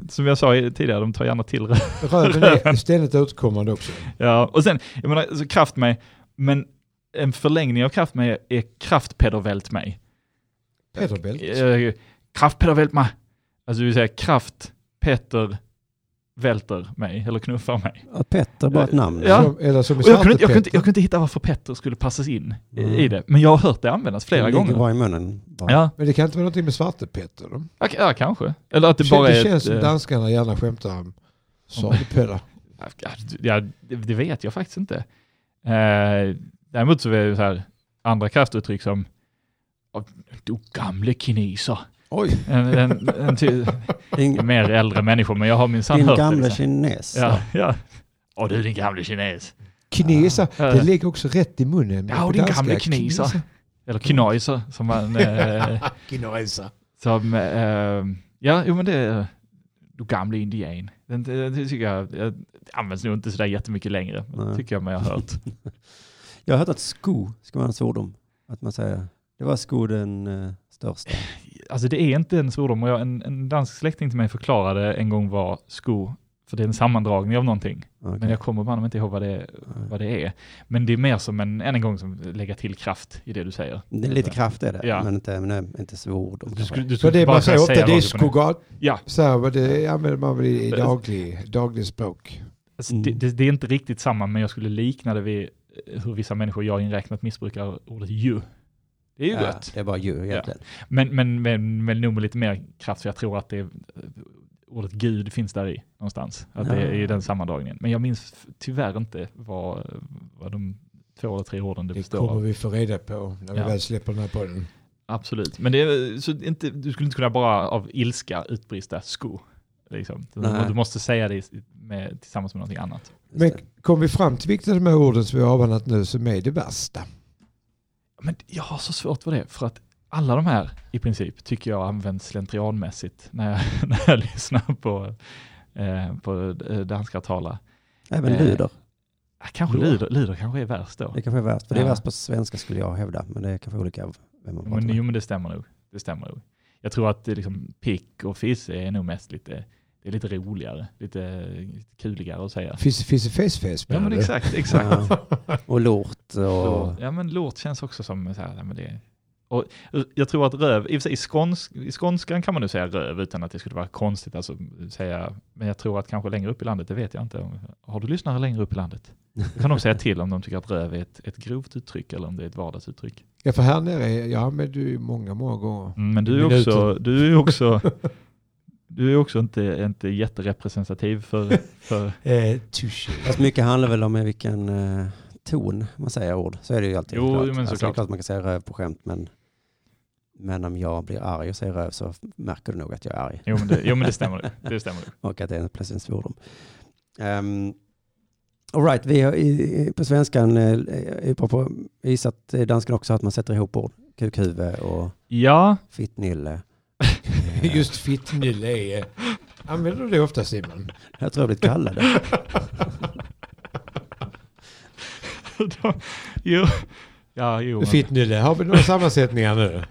som jag sa i- tidigare, de tar gärna till rön.
Röven är ständigt återkommande också.
Ja, och sen, jag menar, så kraft mig, men en förlängning av kraft mig är kraftpedervält mig.
Pederbält.
Eh, Kraft Peter vält mig. Alltså det vill säga kraft Peter välter mig eller knuffar mig.
Och Petter, bara ett namn.
Eh, Ja.
Som, eller som i
Och jag, kunde, inte- jag, kunde,
Svarte
inte- jag kunde inte hitta varför Petter skulle passas in i-
Mm.
i det, men jag har hört det användas flera
det
gånger.
ligger bara i munnen. Bara.
Ja,
Men det kan inte vara någonting med Svarte Petter. då?
ja, k- ja, kanske. Eller att
Det,
det bara är...
känns
ett,
som
eh,
danskarna gärna skämtar om sadepölar.
ja, ja, det, det vet jag faktiskt inte. Eh, däremot så är det så här andra kraftuttryck som "Åh, du gamle kineser.
Oj,
En, en, en ty,
Din,
mer äldre människor, men jag har minsann
din
hört det.
gamla
liksom.
kines.
Ja, ja. Åh du din gamle kines.
kinesa.
Ja.
Det ligger också rätt i munnen.
Ja,
på
din
danska.
gamle kinesa. Eller kinaiser som man... Eh,
Kinesa.
som, eh, ja, jo men det är... Du gamle indian. Den, det, det tycker jag, jag det används nog inte sådär jättemycket längre. men Det
Nej.
tycker jag mig ha hört.
Jag har hört att sko ska vara en svordom. Att man säger, det var sko den eh, största.
Alltså det är inte en svordom och jag, en, en dansk släkting till mig förklarade en gång vad sko, för det är en sammandragning av någonting.
Okej.
Men jag kommer bara inte ihåg vad det, vad det är. Men det är mer som en, än en gång, som lägga till kraft i det du säger.
Det är lite kraft är det,
Ja.
men inte, men nej, inte svordom.
Du
kanske.
skulle, du
Så
skulle
det
bara
man säger
kunna
ofta,
säga
det är
rakt upp och ner.
skogat.
Ja,
Så här, vad det använder man väl i daglig, daglig språk.
Alltså,
Mm.
det, det, det är inte riktigt samma, men jag skulle likna det vid eh, hur vissa människor, jag inräknat, missbrukar ordet ju. Det är ju
Ja,
gött.
det är bara djur egentligen.
Men, men, men, men nog med lite mer kraft, för jag tror att det, eh, ordet gud finns där i någonstans. Att det är
Ja.
i den sammandragningen. Men jag minns f- tyvärr inte vad, vad de två eller tre orden det
Det
består
kommer
av.
vi få reda på när vi
Ja.
väl släpper den här podden.
Absolut. Men det är, eh, så inte, du skulle inte kunna bara av ilska utbrista sko. Liksom. Du,
Nej.
du måste säga det i- med, tillsammans med någonting annat.
Men kom vi fram till vilket av de här orden som vi har avhandlat nu som är det värsta?
Men jag har så svårt för det, för att alla de här i princip tycker jag används slentrianmässigt när jag, när jag lyssnar på, eh, på eh, danskar tala.
Även
Eh,
lyder.
Ah, Kanske
Jo.
lyder, lyder kanske är värst då.
Det kanske är värst, för det är
Ja.
värst på svenska skulle jag hävda, men det är kanske olika vem man pratar
Men,
med.
jo, men det stämmer nog. Det stämmer nog. Jag tror att det liksom, pick och fisse är nog mest lite, det är lite roligare, lite, lite kuligare att säga.
Fissefessfess
Ja, men exakt, exakt.
Ja. Och lort och...
Lort. Ja men lort känns också som så här, nej, men det och jag tror att röv, i, och för sig, i, skåns, i skånskan kan man nu säga röv utan att det skulle vara konstigt alltså, säga, men jag tror att kanske längre upp i landet, det vet jag inte. om- Har du lyssnare längre upp i landet? Då kan de säga till om de tycker att röv är ett, ett grovt uttryck eller om det är ett vardagsuttryck.
Ja, för här nere, är- jag använder ju många, många gånger.
Mm, Men du är
Minuter.
också, du är också, du är också inte, inte jätterepresentativ för, för
Eh, touché.
Fast mycket handlar väl om i vilken eh, ton man säger ord. Så är det ju alltid.
Jo,
klart.
men
Alltså, det är
såklart.
klart man kan säga röv på skämt, men, men om jag blir arg och säger röv så märker du nog att jag är arg
jo men det, jo, men det stämmer. Det stämmer.
och att det är en plötsligt en svordom. Um, all right, vi har i, i- på svenskan eh, är bra på visat eh, dansken också att man sätter ihop ord. Kukhuvud och
Ja,
fittnylle. Eh,
Just fittnylle är... eh, Använder du det ofta Simon?
Jag tror jag har blivit kallad det.
de, jo. Ja, jo. men-
Fittnylle, har vi några sammansättningar nu?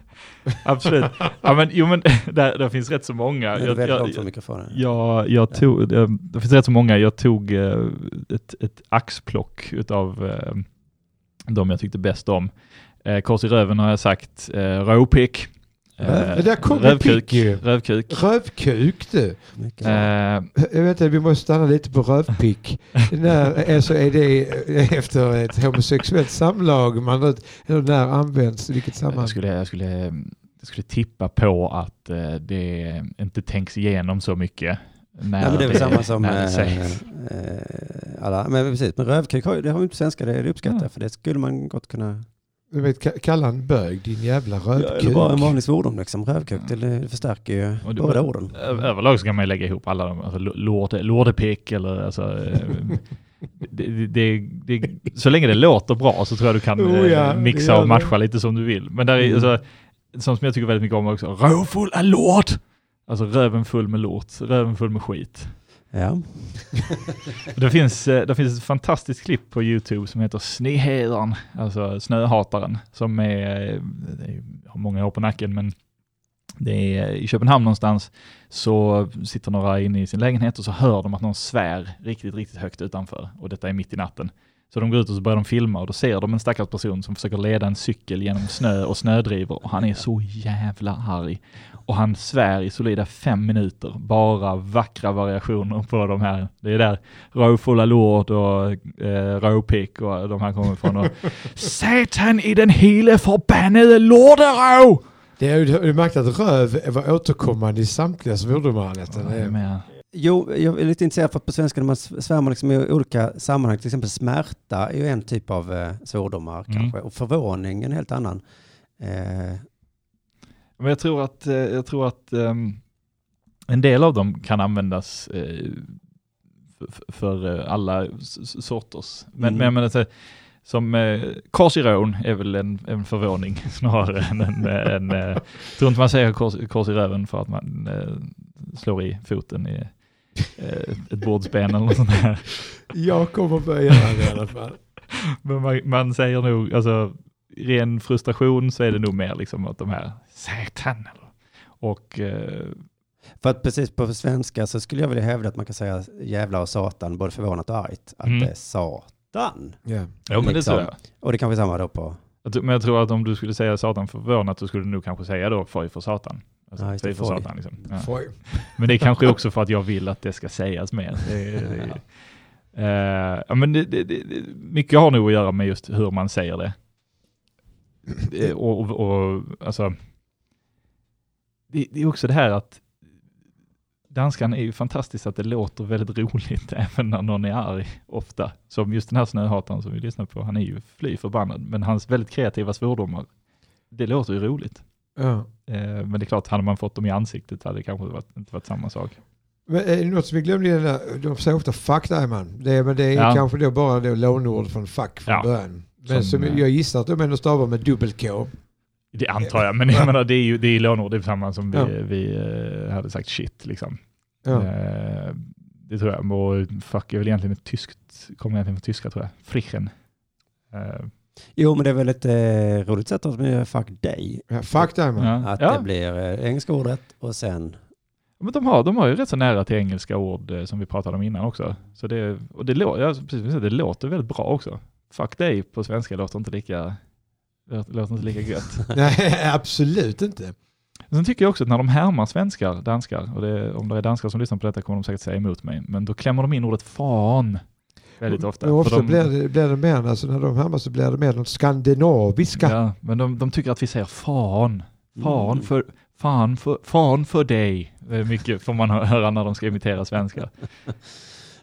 Absolut. Ja, men, jo, men där, där finns rätt så många.
Det är
Jag,
väldigt
jag,
långt från mikrofonen.
jag, jag tog, det, det finns rätt så många. Jag tog eh, ett, ett axplock av de jag tyckte bäst om. Eh, Kors i röven har jag sagt, eh, råpick, Eh,
Röv- där kom pick ju.
rövkuk.
Rövkuk du!
Mycket.
Eh,
Jag vet inte, vi måste stanna lite på rövpick. när, alltså är det efter ett homosexuellt samlag? Man, vet- eller när används, i vilket sammanhang?
jag, skulle, jag, skulle, jag skulle tippa på att eh, det inte tänks igenom så mycket. När
Nej, men det är väl samma som
när det
eh,
sägs.
eh, alla. Men precis, men rövkuk har ju, det har ju inte svenska, det, det uppskattar jag,
Ja.
för det skulle man gott kunna...
Du vet, ka- kalla en bög din jävla
Det
rövkuk.
är bara en vanlig svordom liksom, rövkuk, det, det förstärker ju
Och det-
båda orden.
Ö- Överlag så kan man ju lägga ihop alla de, alltså lo- lorde, lordepick eller alltså, eh, det, det, det, det, så länge det låter bra så tror jag du kan
Oh
eh,
ja, det
mixa
gör
och
det.
matcha lite som du vill. Men där är
Mm.
alltså, sånt som jag tycker väldigt mycket om också, rövfull av lord! Alltså röven full med lort, röven full med skit.
Ja.
Det finns, eh, det finns ett fantastiskt klipp på YouTube som heter Snöhedern, alltså snöhataren, som är, eh, det är, har många år på nacken, men det är i Köpenhamn någonstans, så sitter några inne i sin lägenhet och så hör de att någon svär riktigt, riktigt högt utanför, och detta är mitt i natten. Så de går ut och så börjar de filma och då ser de en stackars person som försöker leda en cykel genom snö och snödrivor och han är så jävla arg. Och han svär i solida fem minuter, bara vackra variationer på de här. Det är där Råfulla Lord och eh, Råpick och de här kommer ifrån. Och Satan i den hele förbannade Lorderå!
Det är, ju- har du märkt att röv var återkommande i samtliga svordomar Anette? Det är-
Men,
Jo, jag är lite intresserad för att på svenska när man s- svär man liksom i olika sammanhang, till exempel smärta är ju en typ av eh, svordomar
Mm.
kanske, och förvåning en helt annan. Eh,
men jag tror att, eh, jag tror att ehm, en del av dem kan användas eh, för, för eh, alla s- s- sorters. Men,
Mm.
men jag menar, så, här, som eh, korsiron är väl en, en förvåning snarare än en... en eh, jag tror inte man säger kors, kors i röven för att man eh, slår i foten i eh, ett bordsben eller något sånt där.
Jag kommer börja göra det i alla fall.
Men man, man säger nog, alltså ren frustration så är det nog mer liksom att de här satan eller och eh,
för att precis på svenska så skulle jag vilja hävda att man kan säga jävla och satan, både förvånat och argt, att
Mm.
det är satan.
Ja.
ja, men det
Liksom.
tror jag.
Och det kanske är samma då på
jag. tror- Men jag tror att om du skulle säga satan förvånat så skulle du nog kanske säga då foj för satan. Alltså,
Ja, just det,
fy för
foj.
satan liksom. ja.
Får jag-
Men det är kanske också för att jag vill att det ska sägas mer. Det, det, Eh, ja, men det, det, det, det- mycket har nog att göra med just hur man säger det. Eh, och, och, och alltså, det, det är också det här att danskan är ju fantastiskt att det låter väldigt roligt även när någon är arg ofta. Som just den här snöhataren som vi lyssnar på, han är ju fly förbannad, men hans väldigt kreativa svordomar, det låter ju roligt.
Ja.
Eh, Men det är klart, hade man fått dem i ansiktet hade det kanske varit, inte varit samma sak.
Men, eh, något som vi glömde i den där, de säger ofta fuck Diamond. Det, är- men det är
Ja.
kanske då bara då lånord från fuck från
Ja.
början. Men
Som,
som,
eh,
jag gissar att de ändå stavar med dubbel K.
Det antar jag, men jag menar, det är ju det är lånord, det är samma som vi,
Ja.
vi eh, hade sagt shit liksom.
Ja.
Eh, Det tror jag. Och fuck är väl egentligen ett tyskt, kommer egentligen från tyska tror jag. Frichen. Eh,
Jo, men det är väl ett eh, roligt sätt att göra fuck dig.
Ja, fuck Diamond.
ja.
Att det
Ja.
blir eh, engelska ordet och sen...
Men de, har, de har ju rätt så nära till engelska ord eh, som vi pratade om innan också. Så det, och det, lå- ja, precis, som du säger, det låter väldigt bra också. Fuck dig på svenska låter inte lika, låter låter inte lika gött.
Nej, absolut inte.
Men Sen tycker jag också att när de härmar svenskar, danskar, och det, om det är danskar som lyssnar på detta kommer de säkert säga emot mig, men då klämmer de in ordet fan väldigt ofta.
Men Mm. ofta
För de,
blir, det, blir det mer, alltså när de hamnar så blir det mer de skandinaviska.
Ja, men de, de tycker att vi säger fan. Fan
Mm.
för, fan för, fan för dig. Det är mycket får man hö- höra när de ska imitera svenskar.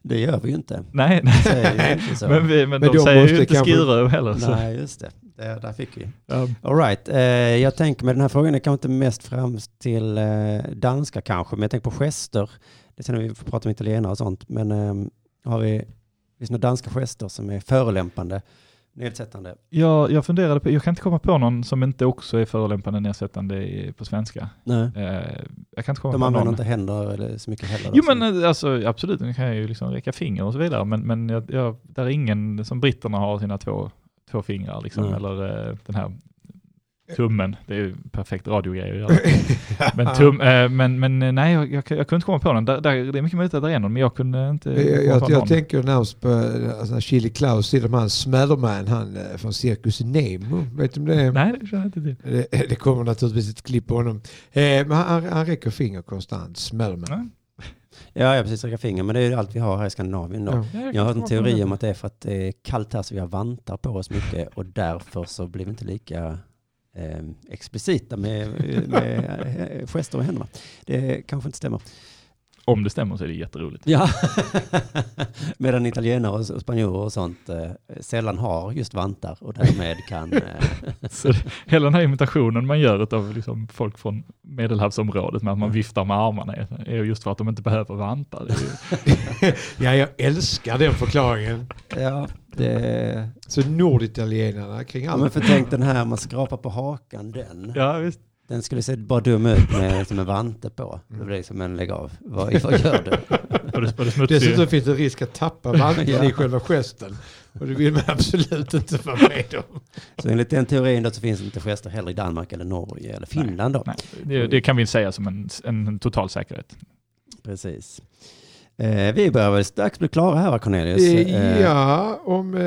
Det gör vi ju inte.
Nej,
Det säger
nej.
ju inte så.
Men, vi, men,
Men
de
då
säger ju
måste
inte
kanske-
Skirö heller. Så.
Nej, just det. Där, där fick vi.
Ja.
All right. Eh, jag tänker med den här frågan, det kanske inte mest fram till eh, danska kanske, men jag tänker på gester. Det sen när vi får prata om italienare och sånt, men ehm, har vi, finns det några danska gester som är förolämpande, nedsättande?
Jag, jag funderade på, jag kan inte komma på någon som inte också är förolämpande nedsättande i- på svenska.
Nej.
Eh, jag kan inte komma
De
på
använder
någon.
inte händer eller så mycket heller.
Jo
Så-
men eh, alltså, absolut, nu kan jag ju liksom räcka finger och så vidare, men, men jag, jag, där är ingen som britterna har sina två, två fingrar liksom,
Nej.
eller eh, den här tummen. Det är ju perfekt radiogrej att göra. Men, tum, eh, men, men eh, nej, jag, jag, jag kunde inte komma på någon. Där, där, det är mycket möjligt att det är någon, men jag kunde inte
Jag,
komma på
jag, jag
någon.
tänker närmast på eh, alltså, när Chili Klaus sitter med han Smatterman, han eh, från Cirkus Nemo. Vet du om det är?
Nej, det känner jag inte till.
Det, det kommer naturligtvis ett klipp på honom. Eh, men han, han räcker finger konstant, Smatterman.
Nej.
Ja, jag precis räcka finger, men det är ju allt vi har här i Skandinavien då.
Ja.
kan
Jag har hört
komma
en
på
teori
någon.
om att det är för att det är kallt här så vi har vantar på oss mycket och därför så blir vi inte lika eh, explicita med, med eh, gester och händerna. Det kanske inte stämmer.
Om det stämmer så är det jätteroligt.
Ja, medan italienare och och spanjorer och sånt eh, sällan har just vantar och därmed kan... Eh,
Så det- hela den här imitationen man gör av liksom folk från medelhavsområdet med att man viftar med armarna är- är just för att de inte behöver vantar. Det är ju-
Ja, jag älskar den förklaringen.
ja, det,
Så norditalienarna kring
ja, men
allt.
för tänk den här, man skrapar på hakan, den.
Ja, visst.
Den skulle se bara dum ut med som en vante på. Det blir som en lägg av. Vad, vad gör du?
Och det, och det smutsiga-
Dessutom finns det risk att tappa vanten
Ja.
i själva gesten. Och det vill man absolut inte vara med om.
Så enligt den teorin då så finns det inte gester heller i Danmark eller Norge eller Finland då.
Nej, det, det kan vi inte säga som en, en total säkerhet.
Precis. Eh, vi börjar väl strax bli klara här va Cornelius?
Eh,
Eh,
Ja, om, eh,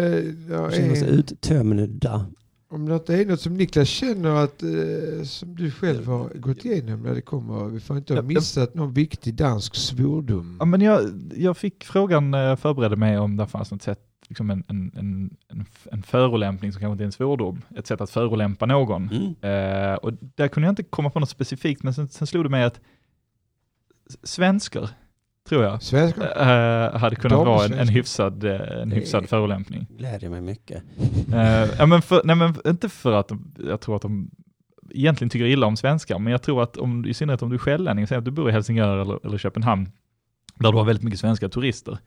jag
Känner oss
är-
uttömda.
om något är något som Niklas känner att eh, som du själv har gått igenom när det kommer. Vi får inte ha
Ja, ja.
missat någon viktig dansk svordom.
Ja, men jag, jag fick frågan när jag förberedde mig om det fanns något sätt, liksom en, en, en, en, en förolämpning som kanske inte är en svordom, ett sätt att förolämpa någon.
Mm.
Eh, och där kunde jag inte komma på något specifikt, men sen, sen slog det mig att s- svenskar, tror jag,
Svenskar?
eh, hade kunnat
De
vara en, en
svenskar.
hyfsad, eh, en
Det-
hyfsad förolämpning.
Glädjer mig mycket.
Eh, ja, men för, nej, men inte för att de, jag tror att de egentligen tycker illa om svenskar, men jag tror att om, i synnerhet om du är skällänning, säg att du bor i Helsingör eller, eller Köpenhamn, där du har väldigt mycket svenska turister.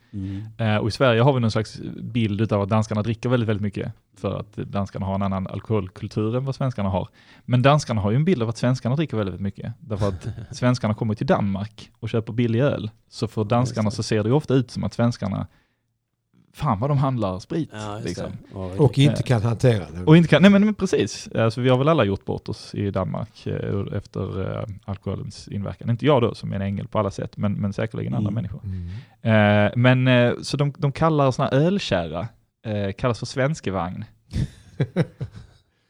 Eh, och i Sverige har vi någon slags bild av att danskarna dricker väldigt, väldigt mycket, för att danskarna har en annan alkoholkultur än vad svenskarna har. Men danskarna har ju en bild av att svenskarna dricker väldigt, väldigt mycket, därför att svenskarna kommer till Danmark och köper billig öl, så för danskarna
Just det.
så ser det ju ofta ut som att svenskarna, fan vad de handlar sprit.
Ja, just
liksom.
det. Och,
Och
Eh,
inte kan hantera det.
Och inte kan, nej men, men precis, alltså, vi har väl alla gjort bort oss i Danmark eh, ur- efter eh, alkoholens inverkan. Inte jag då som är en ängel på alla sätt, men, men säkerligen andra
Mm.
människor.
Mm.
Eh, men eh, så de, de kallar sådana ölkärra, eh, kallas för svenskevagn.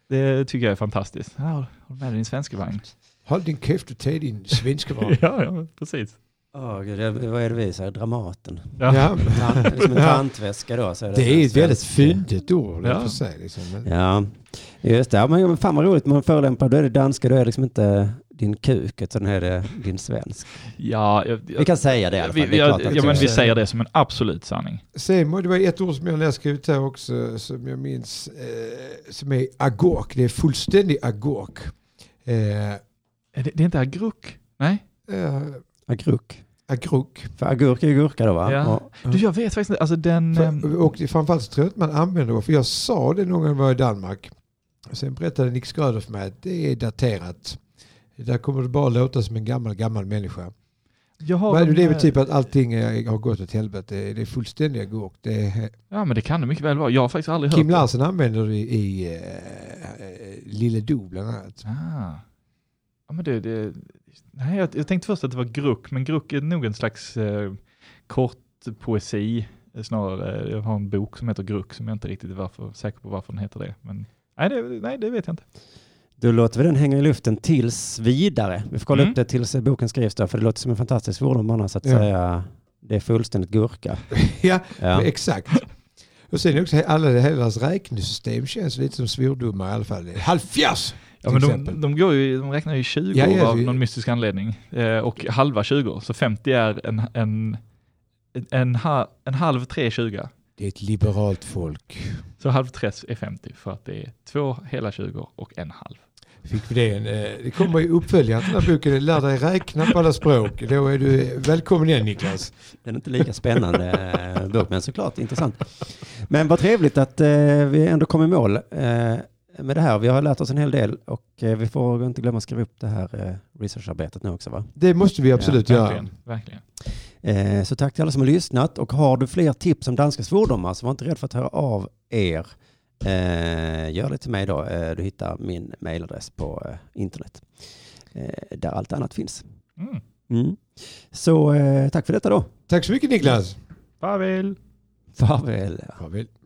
Det tycker jag är fantastiskt. Ja, har du med dig din svenskevagn?
Håll din käft och ta din svenska
Ja,
vara.
ja precis.
Åh, gud, det- vad är det vi säger? Dramaten.
Ja.
Ja,
Tant, det är som en tantväska då. Så är
det är ett väldigt
fint.
fyndigt ord i och
Ja.
för sig. Liksom. Men-
Ja, just det. Ja, men fan vad roligt. Man förolämpar, då är det danska, då är det liksom inte din kuk, utan är det din svensk.
Ja, jag,
Vi
jag,
kan säga det i alla fall.
vi,
det är klart
jag,
att
ja,
det
men
är
vi
så.
säger det som en absolut sanning.
Sen, det var ett ord som jag hade skrivit här också øh, som jag minns eh, som är agork. Det är fullständig agork. Eh,
Eh, Det, det är inte agruck? Nej?
eh,
Agruck.
Agrok.
För agurk är ju gurka då va?
Ja.
Och,
Du, jag vet faktiskt inte. Alltså den... ehm,
För, och det- framförallt så tror jag inte man använder det, för jag sa det någon gång jag var i Danmark. Sen berättade Nick Schröder för mig att det är daterat. Där kommer det bara låta som en gammal, gammal människa.
jag har
Men
de,
det är väl
eh,
typ att allting eh, har gått åt helvete. Det är fullständiga gurk. Det är,
Ja, men det kan det mycket väl vara. Jag har faktiskt aldrig hört
Kim
det.
Larsen använder det i eh, Lille Do bland annat.
Ah. Ja, men det, det, nej, jag, jag tänkte först att det var gruck, men gruck är nog en slags eh, kort poesi eh, snarare. Jag har en bok som heter Gruck som jag inte riktigt är varför, säker på varför den heter det. Men, nej, det. Nej, det vet jag inte.
då låter vi den hänga i luften tills vidare. Vi får kolla
Mm.
upp det tills eh, boken skrivs då, för det låter som en fantastisk svordom annars att
Ja.
säga det är fullständigt gurka.
ja,
Ja.
exakt. Och sen också he- alla hela deras räknesystem känns lite som svordomar i alla fall. Halvfjerds!
Ja,
Till
men de,
exempel.
de, går ju, de räknar ju 20
Ja, ja,
av
vi-
någon mystisk anledning eh, och halva 20, så 50 är en, en, en, en, ha- en halv tre 20.
Det är ett liberalt folk.
Så halv tre är 50 för att det är två hela 20 och en halv.
Fick vi det, en, eh, det kommer ju uppföljaren till den här boken, Lär dig räkna på alla språk. Då är du välkommen igen Niklas.
Den är inte lika spännande eh, bok, men såklart intressant. Men vad trevligt att eh, vi ändå kom i mål eh, med det här. Vi har lärt oss en hel del och eh, vi får inte glömma att skriva upp det här eh, researcharbetet nu också. Va?
Det måste vi absolut göra.
Verkligen, verkligen.
Eh, så tack till alla som har lyssnat och har du fler tips om danska svordomar så var inte rädd för att höra av er. Eh, gör det till mig då. Eh, du hittar min mailadress på eh, internet eh, där allt annat finns.
Mm.
Mm. Så eh, tack för detta då.
Tack så mycket Niklas.
Farväl!
Farväl.
Farväl.